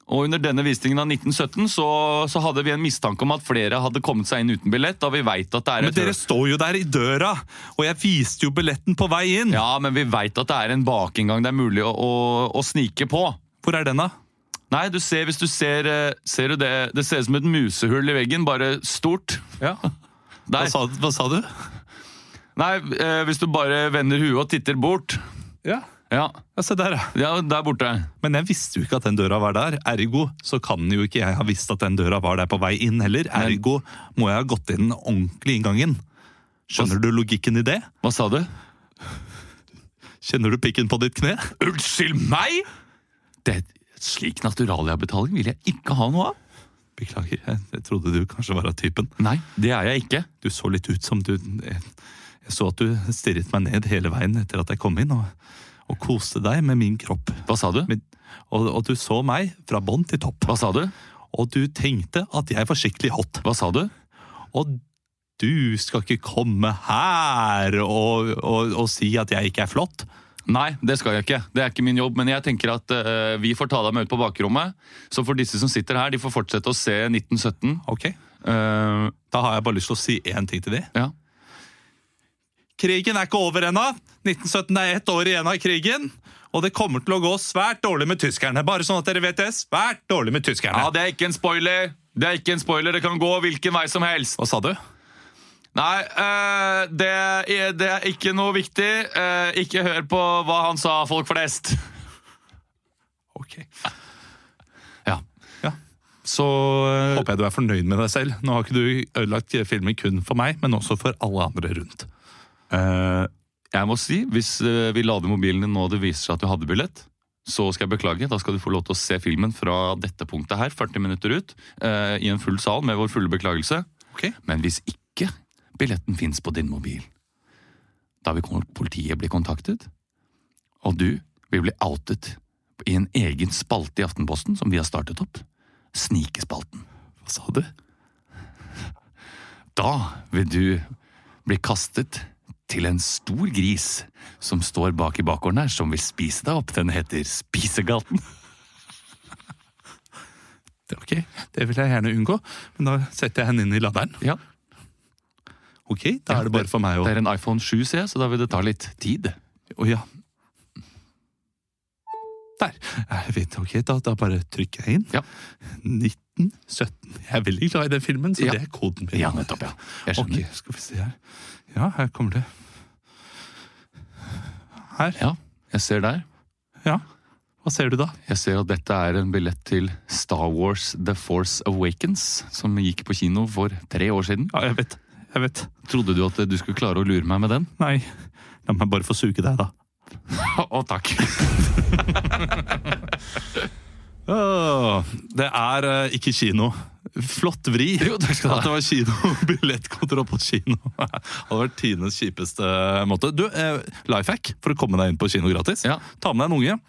Og under denne visningen av 1917 så, så hadde vi en mistanke om at flere hadde kommet seg inn uten billett, da vi veit at det er
Men
et
dere
høl.
står jo der i døra, og jeg viste jo billetten på vei inn.
Ja, men vi vet at det er en bakinngang det er mulig å, å, å snike på.
Hvor er den, da?
Nei, du ser, hvis du ser, eh, ser du det, det ser ut som et musehull i veggen, bare stort.
Hva,
Der.
sa, hva sa du?
Nei, eh, hvis du bare vender huet og titter bort.
Ja.
Ja,
Se der, ja.
ja der borte.
Men jeg visste jo ikke at den døra var der. Ergo så kan jo ikke jeg ha visst at den døra var der på vei inn heller. Ergo må jeg ha gått inn den ordentlige inngangen. Skjønner du logikken i det?
Hva sa du?
Kjenner du pikken på ditt kne?
Unnskyld meg?! Det, slik naturaliabetaling vil jeg ikke ha noe av.
Beklager, jeg, jeg trodde du kanskje var av typen.
Nei, det er jeg ikke.
Du så litt ut som du Jeg, jeg så at du stirret meg ned hele veien etter at jeg kom inn, og, og koste deg med min kropp.
Hva sa du?
Men- og, og du så meg fra bånn til topp.
Hva sa du?
Og du tenkte at jeg var skikkelig hot.
Hva sa du?
Og du skal ikke komme her og, og, og si at jeg ikke er flott.
Nei, det skal jeg ikke. Det er ikke min jobb. Men jeg tenker at eh, vi får ta deg med ut på bakrommet. Så for disse som sitter her, de får fortsette å se 1917.
Ok.
Eh,
Da har jeg bare lyst til å si én ting til de.
ja.
Krigen er ikke over ennå. 1917 er ett år igjen av krigen. Og det kommer til å gå svært dårlig med tyskerne. Bare sånn at dere vet det. Svært dårlig med
ja,
tyskerne.
det er ikke en spoiler! Det er ikke en spoiler, Det kan gå hvilken vei som helst.
Hva sa du?
Nei, eh, det, er, det er ikke noe viktig. Eh, ikke hør på hva han sa, folk flest.
Ok.
Ja.
Ja.
Så eh,
Håper jeg du er fornøyd med deg selv. Nå har ikke du ødelagt filmen kun for meg, men også for alle andre rundt.
eh, jeg må si, hvis eh, vi lader mobilen din nå og det viser seg at du hadde billett, så skal jeg beklage. Da skal du få lov til å se filmen fra dette punktet her, 40 minutter ut, eh, i en full sal med vår fulle beklagelse.
Ok.
Men hvis ikke billetten fins på din mobil, da vil kon- politiet bli kontaktet, og du vil bli outet i en egen spalte i Aftenposten som vi har startet opp. Snikespalten.
Hva sa du?
Da vil du bli kastet til en stor gris som står bak i bakgården her, som vil spise deg opp. Den heter Spisegaten.
Det er ok, det vil jeg gjerne unngå, men da setter jeg henne inn i laderen.
Ja,
Ok, da er det bare for meg å
Det er en iPhone 7, ser jeg, så da vil det ta litt tid.
Å ja. Der. Jeg vet, ok, da, da bare trykker jeg inn.
Ja.
1917. Jeg er veldig glad i den filmen, så
Ja.
det er koden min.
Ja, nettopp, ja. Jeg
Ok,
skjønner.
skal vi se her. Ja, her kommer det. Her.
Ja, jeg ser der.
Ja. Hva ser du da?
Jeg ser at dette er en billett til Star Wars The Force Awakens, som gikk på kino for tre år siden.
Ja, jeg vet. Jeg vet.
Trodde du at du skulle klare å lure meg med den?
Nei. La meg bare få suge deg, da.
Å, takk!
Åh, det er eh, ikke kino. Flott vri
Jo, takk skal du ha.
at det var kino. Billettkontroll på kino. Det hadde vært tidenes kjipeste måte. Du, eh, life hack for å komme deg inn på kino gratis.
Ja.
Ta med deg en unge.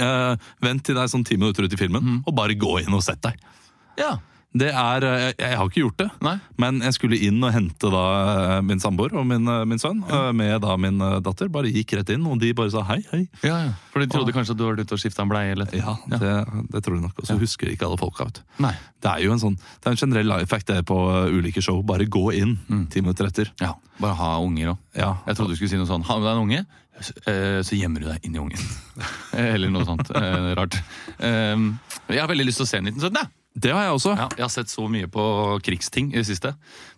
Eh, vent til deg sånn ti minutter ut i filmen, og bare gå inn og sett deg.
Mm. Ja.
Det er, eh, jeg, jeg har ikke gjort det,
Nei.
men jeg skulle inn og hente da eh, min samboer og min, eh, min sønn eh, med da min eh, datter. Bare gikk rett inn, og de bare sa hei, hei.
Ja, ja. For de trodde kanskje at du var ute og skifta en bleie? Eller...
Ja, det, det tror jeg nok. Og så husker ikke alle folka. vet du.
Nei.
Det er jo en sånn, det er en generell life hack det på uh, ulike show. Bare gå inn ti minutter etter.
Mm. Ja, Bare ha unger òg.
Ja.
Jeg trodde du skulle si noe sånn Ha med deg en unge, s- eh, så gjemmer du deg inni ungen. Eller noe sånt eh, rart. Um, Jeg har veldig lyst til å se 1917. jeg.
Det har jeg også.
Ja, jeg har sett så mye på krigsting i det siste.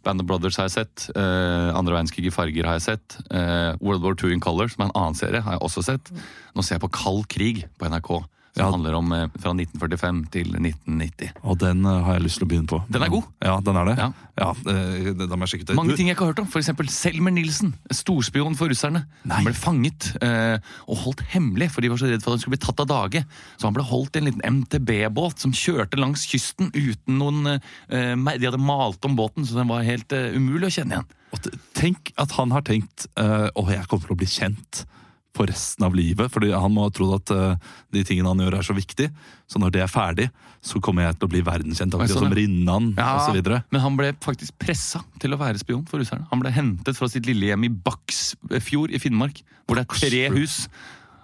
Band of Brothers har jeg sett. eh, Andre verdenskrig i farger har jeg sett. eh, World War II in Color, som er en annen serie, har jeg også sett. Nå ser jeg på Kald krig på NRK, som
Ja.
handler om eh, fra 1945 til 1990.
Og den uh, har jeg lyst til å begynne på.
Den er god.
Ja, den er det.
Ja.
eh, det, da må jeg sjekke ut det.
Mange
Du-
ting jeg ikke har hørt om. For eksempel Selmer Nilsen, storspion for russerne. Han ble fanget eh, og holdt hemmelig, for de var så redd for at han skulle bli tatt av dage. Så han ble holdt i en liten MTB-båt som kjørte langs kysten uten noen eh, mer- De hadde malt om båten, så den var helt eh, umulig å kjenne igjen.
Og t- Tenk at han har tenkt eh, Åh, jeg kommer til å bli kjent for resten av livet. Fordi han må ha trodd at eh, de tingene han gjør, er så viktig. Så når det er ferdig, så kommer jeg til å bli verdenskjent.
Oi,
Akkurat
sånn,
som
ja.
Rinnan
Ja,
og så videre
Men han ble faktisk pressa til å være spion for russerne. Han ble hentet fra sitt lille hjem i Baksfjord i Finnmark, hvor det er tre hus.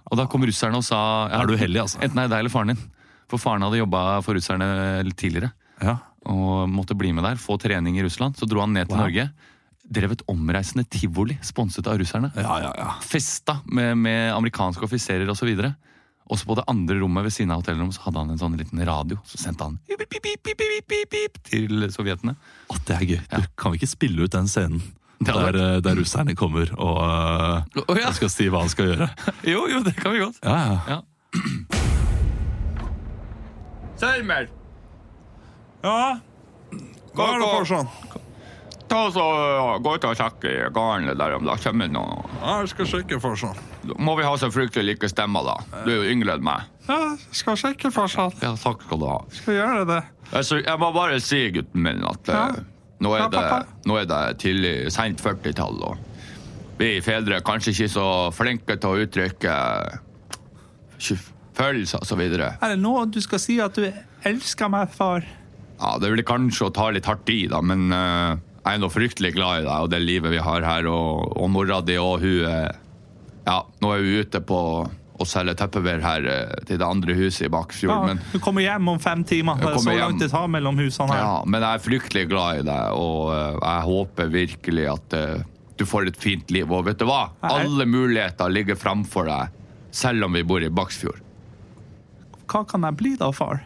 Og da kom russerne og sa ja,
Er du heldig, altså?
Enten er det deg eller faren din. For faren hadde jobba for russerne litt tidligere.
Ja.
og måtte bli med der, få trening i Russland. Så dro han ned til
Wow.
Norge. Drev et omreisende tivoli, sponset av russerne.
Ja, ja, ja.
Festa med, med amerikanske offiserer osv. Og så på det andre rommet ved siden av hotellrommet så hadde han en sånn liten radio. Så sendte han pip, pip, pip, pip, pip, pip, pip, til sovjetene.
Å, det er gøy. Du, kan vi ikke spille ut den scenen
Det hadde
der, eh, der russerne kommer og eh,
Å, ja.
skal si hva han skal gjøre?
Jo, jo, det kan vi godt.
Ja, ja.
Ja.
Selmer,
Ja, hva er det for sånn?
ta oss og øh, gå ut og sjekke i gårdene der om det kommer noe.
Ja, jeg skal sjekke for sånn.
Da Må vi ha så fryktelig like stemmer, da? Du er jo yngre enn meg.
Ja, jeg skal sjekke for sånn.
Ja, takk skal du ha.
Skal gjøre det.
Altså, jeg må bare si, gutten min, at eh, nå,
Ja,
er det,
pappa.
nå er det tidlig, sent 40-tall, og vi fedre er kanskje ikke så flinke til å uttrykke følelser og så videre.
Er det nå du skal si at du elsker meg, far?
Ja, det blir kanskje å ta litt hardt i, da, men eh, jeg er nå fryktelig glad i deg og det livet vi har her, og, og mora di og hun eh, Ja, nå er hun ute på å selge teppever her eh, til det andre huset i Bakkfjord, men
du kommer hjem om fem timer.
Jeg kommer hjem.
tar mellom husene
ja, men jeg er fryktelig glad i deg, og eh, jeg håper virkelig at eh, du får et fint liv. Og vet du hva?
Nei.
Alle muligheter ligger framfor deg, selv om vi bor i Baksfjord.
Hva kan jeg bli da, far?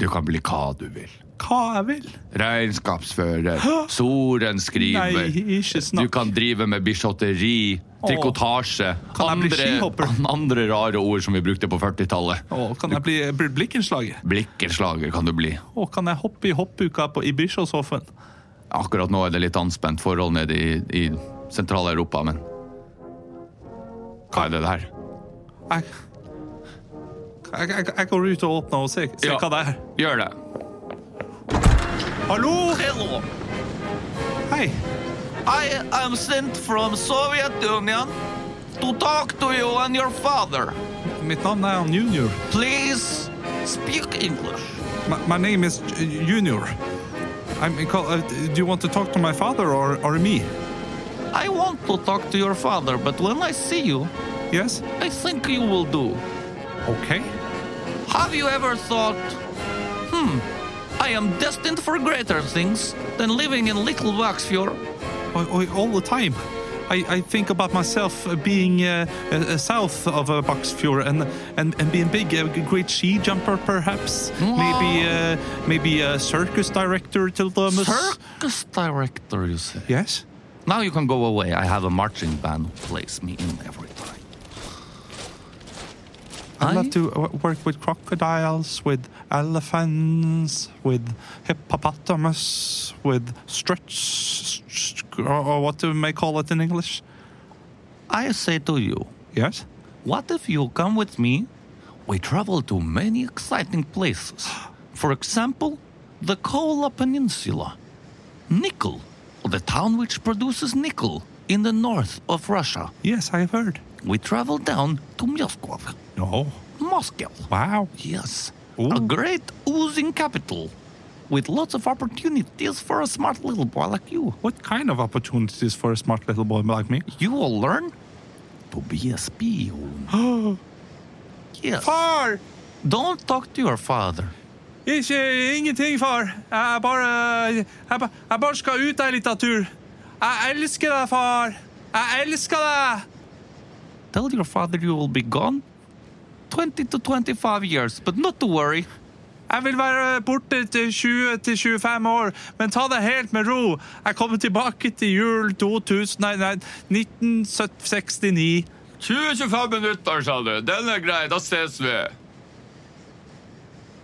Du kan bli hva du vil.
Hva jeg vil?
Regnskapsfører, sorenskriver
ikke
Du kan drive med bichotteri, trikotasje
Kan jeg bli
andre,
skihopper?
an- andre rare ord som vi brukte på 40-tallet.
Å, kan jeg bli bli blikkenslaget?
Blikkenslager kan du bli.
Å, kan jeg hoppe i hoppuka på, i Bischofshofen?
Akkurat nå er det litt anspent forhold nede i, i Sentral-Europa, men Hva er det der?
Jeg, jeg, jeg, jeg går ut og åpner og ser, ser
Ja.
hva det er.
Gjør det.
Hallo! Hei.
I am sent from Soviet Union to talk to you and your father.
Mitt navn er Junior.
Please speak English.
My, my name is J- Junior. I'm, call- uh, do you want to talk to my father or, or me?
I want to talk to your father, but when I see you,
Yes?
I think you will do.
Okay.
Have you ever thought, hmm, I am destined for greater things than living in Little Waxfjord.
I, I, all the time. I, I think about myself uh, being uh, uh, uh, south of uh, Bucksfjord and, and and being big, a great ski jumper perhaps. Maybe uh, maybe a circus director till the
Circus director, you say?
Yes.
Now you can go away. Oh, I have a marching band who plays me in every time.
I
Aye.
love to uh, w- work with crocodiles, with elephants, with hippopotamus, with stretch, or, or what do they call it in English?
I say to you,
Yes.
what if you come with me? We travel to many exciting places. For example, the Kola Peninsula, nickel, the town which produces nickel in the north of Russia.
Yes, I have heard.
We travel down to Moscow.
No.
Moscow.
Wow.
Yes.
Ooh.
A great oozing capital with lots of opportunities for a smart little boy like you.
What kind of opportunities for a smart little boy like me?
You will learn to be a spion. yes.
Far!
Don't talk to your father.
Ikke ingenting, far. Jeg bare, jeg, ba- jeg bare skal ut en liten tur. Jeg elsker deg, far. Jeg elsker deg!
Tell your father you will be gone 20 to 25 years, but not to worry.
Jeg vil være borte til 20 til 25 år, men ta det helt med ro. Jeg kommer tilbake til jul 2000, nei, nei, 1969.
20-25 minutter, sa du. Den er grei, da ses vi.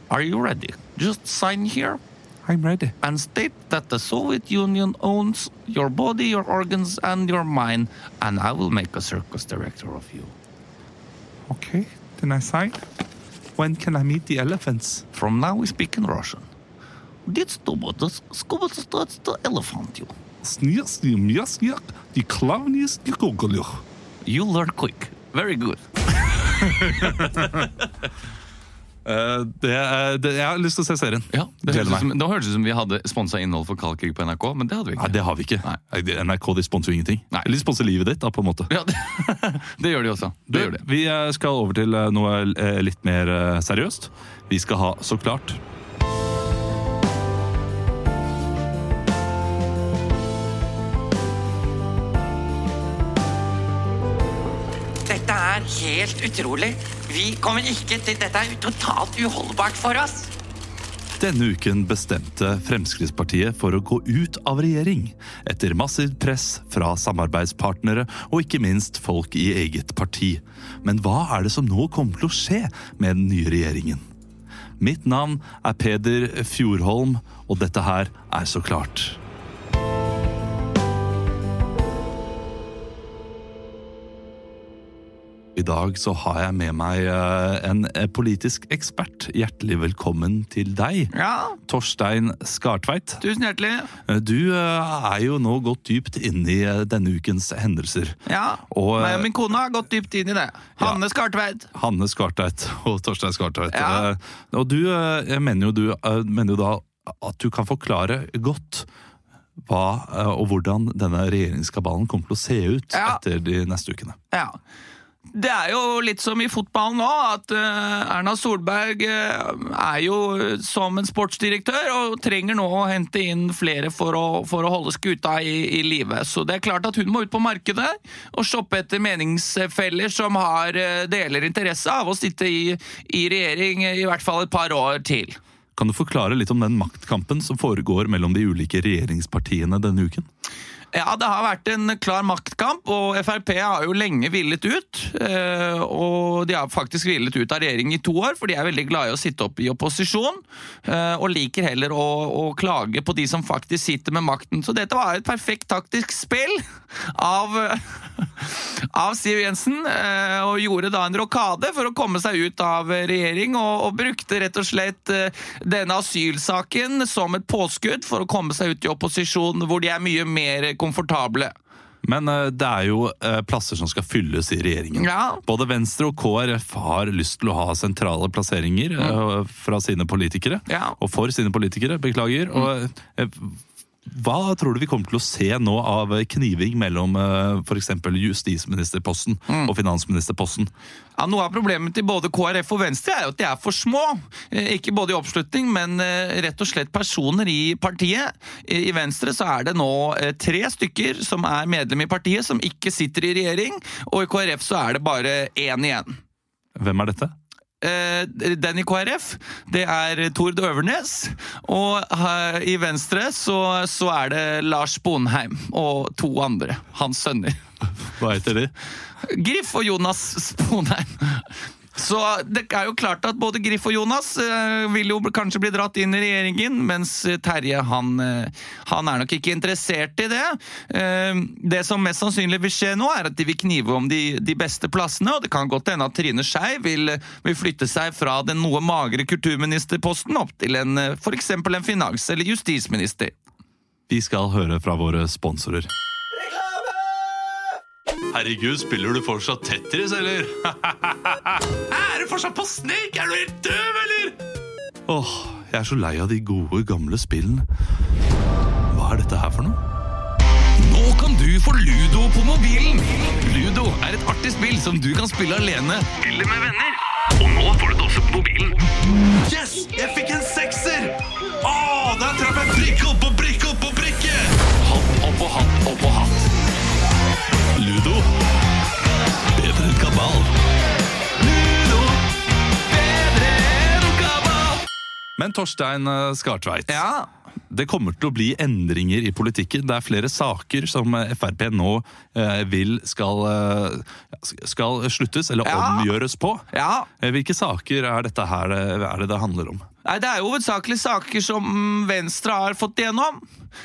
Are you ready? Just sign here
I'm ready.
and state that the Soviet Union owns your body, your organs, and your mind, and I will make a circus director of you.
Okay, then I sign. When can I meet the elephants?
From now we speak in Russian. Dit stobotas, skobotas tots the elephant you.
Snirs, mirs, de klavnis, de gogolir.
You learn quick. Very good.
Eh, det, er- det, jeg har lyst til å se serien.
Ja, det
Gleder
høres ut
meg.
som, det høres ut som vi hadde sponsa innhold for Kaldkrig på NRK, men det hadde vi
Nei,
ikke.
det har vi ikke. Nei, det- NRK de sponser jo ingenting.
Nei.
Eller de sponser livet ditt, da, på en måte.
Ja, det, det gjør de også. Det gjør de.
Vi eh, skal over til eh, noe eh, litt mer eh, seriøst. Vi skal ha Så klart.
Dette er helt utrolig. Vi kommer ikke til Dette er totalt uholdbart for oss.
Denne uken bestemte Fremskrittspartiet for å gå ut av regjering. Etter massivt press fra samarbeidspartnere og ikke minst folk i eget parti. Men hva er det som nå kommer til å skje med den nye regjeringen? Mitt navn er Peder Fjordholm, og dette her er så klart. I dag så har jeg med meg eh, en eh, politisk ekspert. Hjertelig velkommen til deg,
Ja,
Torstein Skartveit.
tusen hjertelig.
Eh, Du eh, er jo nå gått dypt inn i eh, denne ukens hendelser.
Ja,
Og,
meg
eh,
og min kone har gått dypt inn i det. Hanne Skartveit.
Hanne Skartveit og Torstein Skartveit.
Ja.
Eh, Og du, eh, jeg mener jo, du, eh, mener jo da at du kan forklare godt hva eh, og hvordan denne regjeringskabalen kommer til å se ut
Ja.
etter de neste ukene.
Ja. Det er jo litt som i fotball nå, at eh, Erna Solberg eh, er jo eh, som en sportsdirektør og trenger nå å hente inn flere for å, for å holde skuta i, i live. Så det er klart at hun må ut på markedet og shoppe etter meningsfeller som har eh, deler interesse av å sitte i, i regjering eh, i hvert fall et par år til.
Kan du forklare litt om den maktkampen som foregår mellom de ulike regjeringspartiene denne uken?
Ja, det har vært en klar maktkamp, og Frp har jo lenge hvilet ut. eh, Og de har faktisk hvilet ut av regjering i to år, for de er veldig glade i å sitte opp i opposisjon. eh, Og liker heller å, å klage på de som faktisk sitter med makten. Så dette var et perfekt taktisk spill av, eh, av Siv Jensen. eh, Og gjorde da en rokade for å komme seg ut av regjering, og, og brukte rett og slett eh, denne asylsaken som et påskudd for å komme seg ut i opposisjon, hvor de er mye mer komfortable.
Men eh, det er jo eh, plasser som skal fylles i regjeringen.
Ja.
Både Venstre og KrF har lyst til å ha sentrale plasseringer eh, fra sine politikere.
Mm. Ja. Mm.
Og for sine politikere, beklager. Og eh, Hva tror du vi kommer til å se nå av kniving mellom f.eks. justisministerposten
Mm.
og finansministerposten?
Ja, Noe av problemet til både KrF og Venstre er jo at de er for små. Eh, Ikke både i oppslutning, men eh, rett og slett personer i partiet. I i Venstre så er det nå eh, tre stykker som er medlem i partiet, som ikke sitter i regjering. Og i KrF så er det bare én igjen.
Hvem er dette?
Eh, Den i KrF, det er Tord Øvernes. Og eh, i Venstre så, så er det Lars Bonheim og to andre. Hans sønner.
Hva heter de?
Griff og Jonas Sponheim. Så det er jo klart at både Griff og Jonas eh, vil jo kanskje bli dratt inn i regjeringen, mens Terje han, eh, han er nok ikke interessert i det. Eh, det som mest sannsynlig vil skje nå, er at de vil knive om de, de beste plassene. Og det kan godt hende at Trine Skei vil, vil flytte seg fra den noe magre kulturministerposten opp til en, eh, for eksempel en finans- eller justisminister.
Vi skal høre fra våre sponsorer. Herregud, spiller du fortsatt Tetris, eller?
Er du fortsatt på Snake? Er du helt døv, eller?
Åh, jeg er så lei av de gode, gamle spillene. Hva er dette her for noe?
Nå kan du få Ludo på mobilen. Ludo er et artig spill som du kan spille alene. Eller med venner. Og nå får du det også på mobilen.
Yes! Jeg fikk en sekser! Å, der traff jeg prikk opp og prikk opp og prikke!
Hatt opp og hatt opp og hatt.
Ludo? Bedre enn kabal.
Ludo, bedre enn kabal.
Men Torstein eh, Skartveit,
Ja,
det kommer til å bli endringer i politikken. Det er flere saker som eh, Frp nå eh, vil skal, eh, skal sluttes eller
Ja.
omgjøres på.
ja.
Eh, Hvilke saker er dette her eh, er det det handler om?
Nei, det er jo hovedsakelig saker som Venstre har fått igjennom.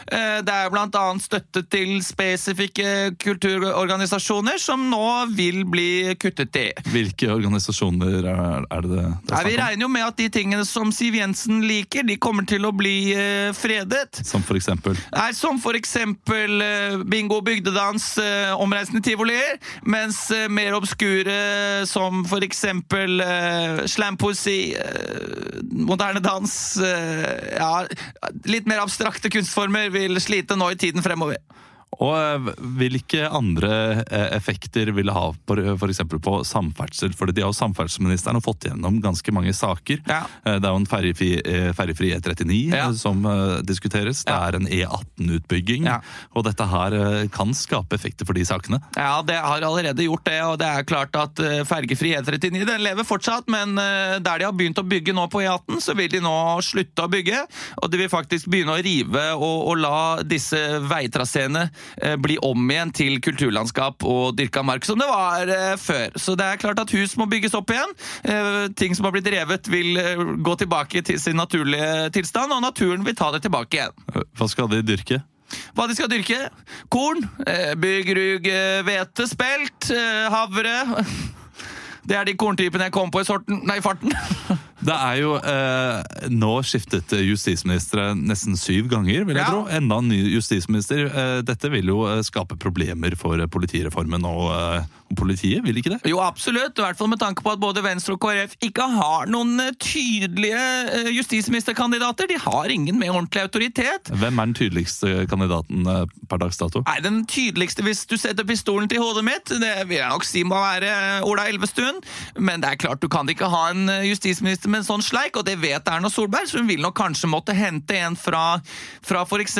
Eh, Det er blant annet støtte til spesifikke kulturorganisasjoner som nå vil bli kuttet i.
Hvilke organisasjoner er, er det det det
Nei,
er
vi
snakk om?
regner jo med at de tingene som Siv Jensen liker, de kommer til å bli eh, fredet.
Som for eksempel
Nei, som for eksempel eh, bingo, bygdedans, eh, omreisende tivolier, mens eh, mer obskure som for eksempel eh, slampoesi, eh, moderne dans, eh, ja, litt mer abstrakte kunstformer vil slite nå i tiden fremover.
Og eh, hvilke andre eh, effekter vil det ha på, eh, for eksempel på samferdsel? Fordi de har jo samferdselsministeren har fått gjennom ganske mange saker.
Ja.
Eh, Det er jo en ferjefri, eh, ferjefri E39
Ja.
eh, som eh, diskuteres. Det er en E18-utbygging.
Ja.
Og dette her eh, kan skape effekter for de sakene.
Ja, det har allerede gjort det, og det er klart at eh, fergefri E39 den lever fortsatt, men eh, der de har begynt å bygge nå på E18, så vil de nå slutte å bygge, og de vil faktisk begynne å rive og, og la disse veitraseene eh, bli om igjen til kulturlandskap og dyrka mark, som det var eh, før. Så det er klart at hus må bygges opp igjen, eh, ting som har blitt revet vil eh, gå tilbake til sin naturlige tilstand, og naturen vil ta det tilbake igjen
Eh, Hva skal de dyrke?
hva de skal dyrke. Korn, eh, byggrug, eh, hvete, spelt, eh, havre. Det er de korntypene jeg kom på i sorten, nei, i farten.
Det er jo eh, nå skiftet justisministre nesten syv ganger, vil jeg
Ja.
tro. Enda en ny justisminister. Eh, dette vil jo eh, skape problemer for eh, politireformen og, eh, og politiet, vil ikke det?
Jo, absolutt. I hvert fall med tanke på at både Venstre og KrF ikke har noen eh, tydelige eh, justisministerkandidater. De har ingen med ordentlig autoritet.
Hvem er den tydeligste kandidaten eh, per dags dato?
Nei, Den tydeligste, hvis du setter pistolen til hodet mitt, det vil jeg nok si må være eh, Ola Elvestuen. Men det er klart, du kan ikke ha en eh, justisminister med en sånn sleik, og det vet Erna Solberg, så hun vil nok kanskje måtte hente en fra, fra f.eks.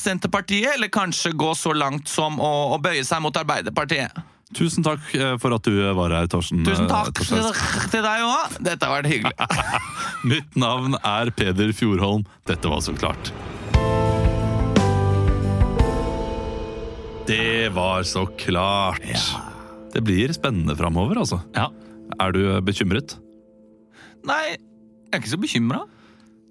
Senterpartiet, eller kanskje gå så langt som å, å bøye seg mot Arbeiderpartiet.
Tusen takk eh, for at du var her, Torsten. eh,
Tusen takk til
Torstein.
til deg òg. Dette har vært hyggelig.
Mitt navn er Peder Fjordholm. Dette var så klart. Det var så klart. Det blir spennende framover, altså. Er du bekymret?
Nei, jeg er ikke så bekymra.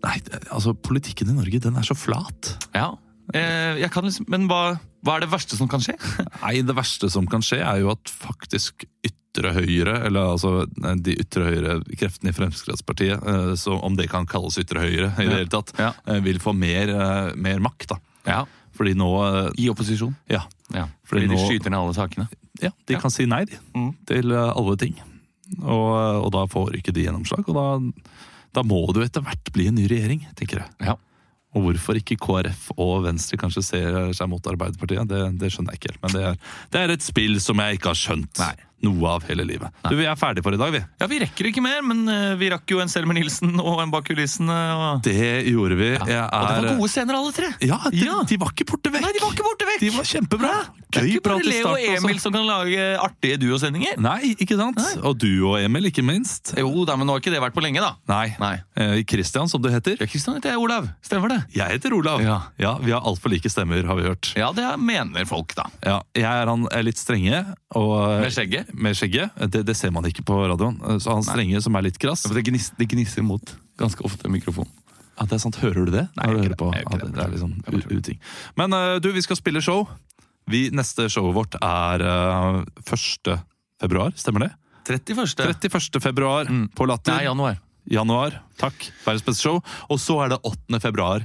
Nei, det- altså politikken i Norge, den er så flat.
Ja. Eh, jeg kan liksom, men hva, hva er det verste som kan skje?
Nei, det verste som kan skje er jo at faktisk ytre høyre, eller altså eh, de ytre høyre kreftene i Fremskrittspartiet, eh, så om det kan kalles ytre høyre i det hele tatt,
Ja.
eh, vil få mer, eh, mer makt, da. Fordi nå eh,
I opposisjon.
Ja.
Ja.
Fordi nå-
ned alle sakene.
ja de kan si nei, de.
Mm.
Til eh, alle ting. Og, eh, og da får ikke de gjennomslag, og da, da må det jo etter hvert bli en ny regjering, tenker jeg.
Ja.
Og hvorfor ikke KrF og Venstre kanskje ser seg mot Arbeiderpartiet, det, det skjønner jeg ikke helt. Men det er, det er et spill som jeg ikke har skjønt noe av hele livet. Du, Vi er ferdige for i dag, vi.
Ja, Vi rekker ikke mer, men eh, vi rakk jo en Selmer Nilsen og en bak kulissene. Og...
Det gjorde vi. Jeg
og det
er-
var gode scener, alle tre!
Ja, de,
Ja.
de var ikke borte vekk.
Nei, de var ikke borte vekk!
De var kjempebra.
Det er
Gøy
ikke
prat
bare
i
Leo og
starten også.
Emil som kan lage artige duosendinger.
Nei, ikke sant? Og du og Emil, ikke minst.
Jo da, men nå har ikke det vært på lenge, da.
Nei.
Nei.
Eh, Christian, som du heter.
Ja, Kristian heter jeg, Olav. Stemmer det?
Jeg heter Olav.
Ja.
Vi har altfor like stemmer, har vi hørt.
Ja, det mener folk, da.
Ja, jeg er han eh, litt strenge. Og, eh,
Med skjegget.
Med skjegget. Det, det ser man ikke på radioen. Eh, Så han strenge som er litt krass.
Det gnisser, imot ganske ofte mikrofon.
Ja, det er sant. Hører du det? Når du
Nei, jeg
hører
gjør ikke
på?
det. Jeg gjør
Ja,
ikke
det,
det.
det er liksom u- uting. Men eh, du, vi skal spille show. Vi, neste showet vårt er eh, 1. februar, stemmer det?
31.
31. februar på Latter.
Mm. Nei, januar.
januar. Takk. Verdens beste show. Og så er det 8. februar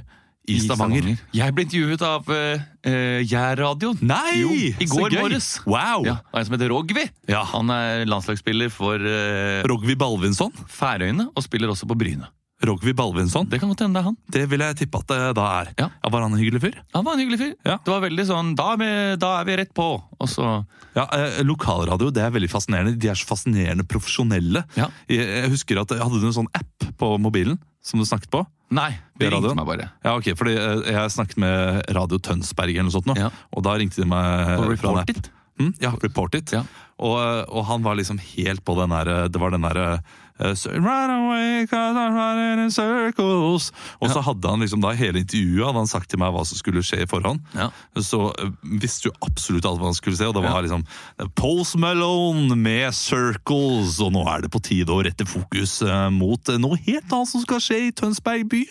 i, Stavanger.
Jeg ble intervjuet av uh, Gjær-radioen.
Nei!
Jo, I
så
går
gøy.
morges.
Wow!
Ja, og en som heter Rogvi.
Ja.
Han er landslagsspiller for eh,
Rogvi Balvinsson.
Færøyene og spiller også på Bryne.
Rogvi Balvinsson.
Det kan godt hende det er han.
Det vil jeg tippe at det da er.
Ja.
Var han en hyggelig fyr?
Han var en hyggelig fyr.
Ja.
Det var veldig sånn Da er vi, da er vi rett på! Og så
Ja, eh, Lokalradio det er veldig fascinerende. De er så fascinerende profesjonelle.
Ja.
Jeg, jeg husker at Hadde du en sånn app på mobilen som du snakket på?
Nei, det
Gjør radioen?
ringte meg bare.
Ja, ok, fordi eh, Jeg snakket med Radio Tønsberg, eller noe sånt nå,
Ja.
og da ringte de meg
På
fra en
Report
app.
It?
Mm, ja, Report It.
Ja.
Og, og han var liksom helt på den derre Det var den derre eh, so- Run away, 'cause I'm running in circles. Og så hadde han liksom da hele intervjuet hadde han sagt til meg hva som skulle skje i forhånd.
Ja.
Så eh, visste jo absolutt alt hva han skulle se, og det var liksom Post Malone med 'Circles', og nå er det på tide å rette fokus eh, mot eh, noe helt annet som skal skje i Tønsberg by.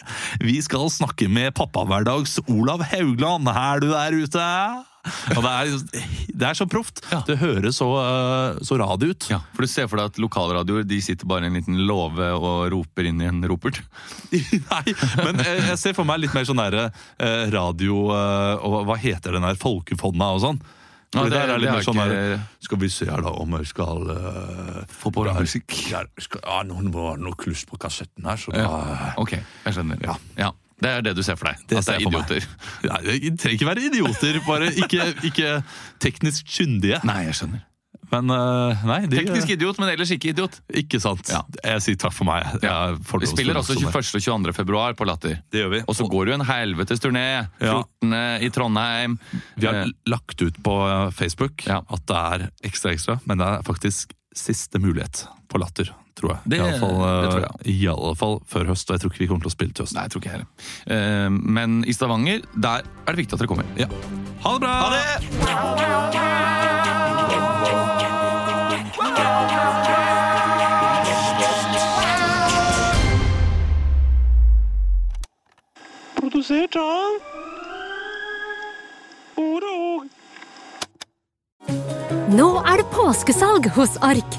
Vi skal snakke med pappahverdags Olav Haugland her du er ute. Og det er, det er så proft. Det høres så, eh, så radio ut.
Ja, For du ser for deg at lokalradioer de sitter bare i en liten låve og roper inn i en ropert?
Nei, men jeg, jeg ser for meg litt mer sånn der eh, radio eh, og hva heter den der folkefonna og sånn.
Ja,
Fordi
det-
der er litt
det
mer
har
sånn
ikke-
der, Skal vi se her da om jeg skal eh,
Få på
der-
musikk.
der skal, ja, noen må ha noe kluss på kassetten her, så da
Ok, jeg skjønner.
Ja.
Det er det du ser for deg?
Det
at
ser
det er
jeg for meg.
idioter?
Nei, det trenger ikke være idioter, bare ikke, ikke teknisk kyndige.
Nei, jeg skjønner.
Men eh, nei, de,
Teknisk idiot, men ellers ikke idiot.
Ikke sant.
Ja.
Jeg sier takk for meg. Jeg er
Vi spiller også
fordomsfull sånn der.
21. og 22. februar på Latter.
Det gjør vi.
Og så går det jo en helvetes turné.
Ja.
14. i Trondheim.
Vi
Eh,
har lagt ut på eh, Facebook
Ja.
at det er ekstra ekstra, men det er faktisk siste mulighet på latter, tror jeg.
Det-
I alle fall, eh,
det tror
I alle fall før høst, og jeg tror ikke vi kommer til å spille til høsten.
Nei, jeg tror ikke jeg heller. Eh, Men i Stavanger, der er det viktig at dere kommer.
Ja. Ha det bra!
Produsert av Ord og Åg.
Nå er det påskesalg hos Ark.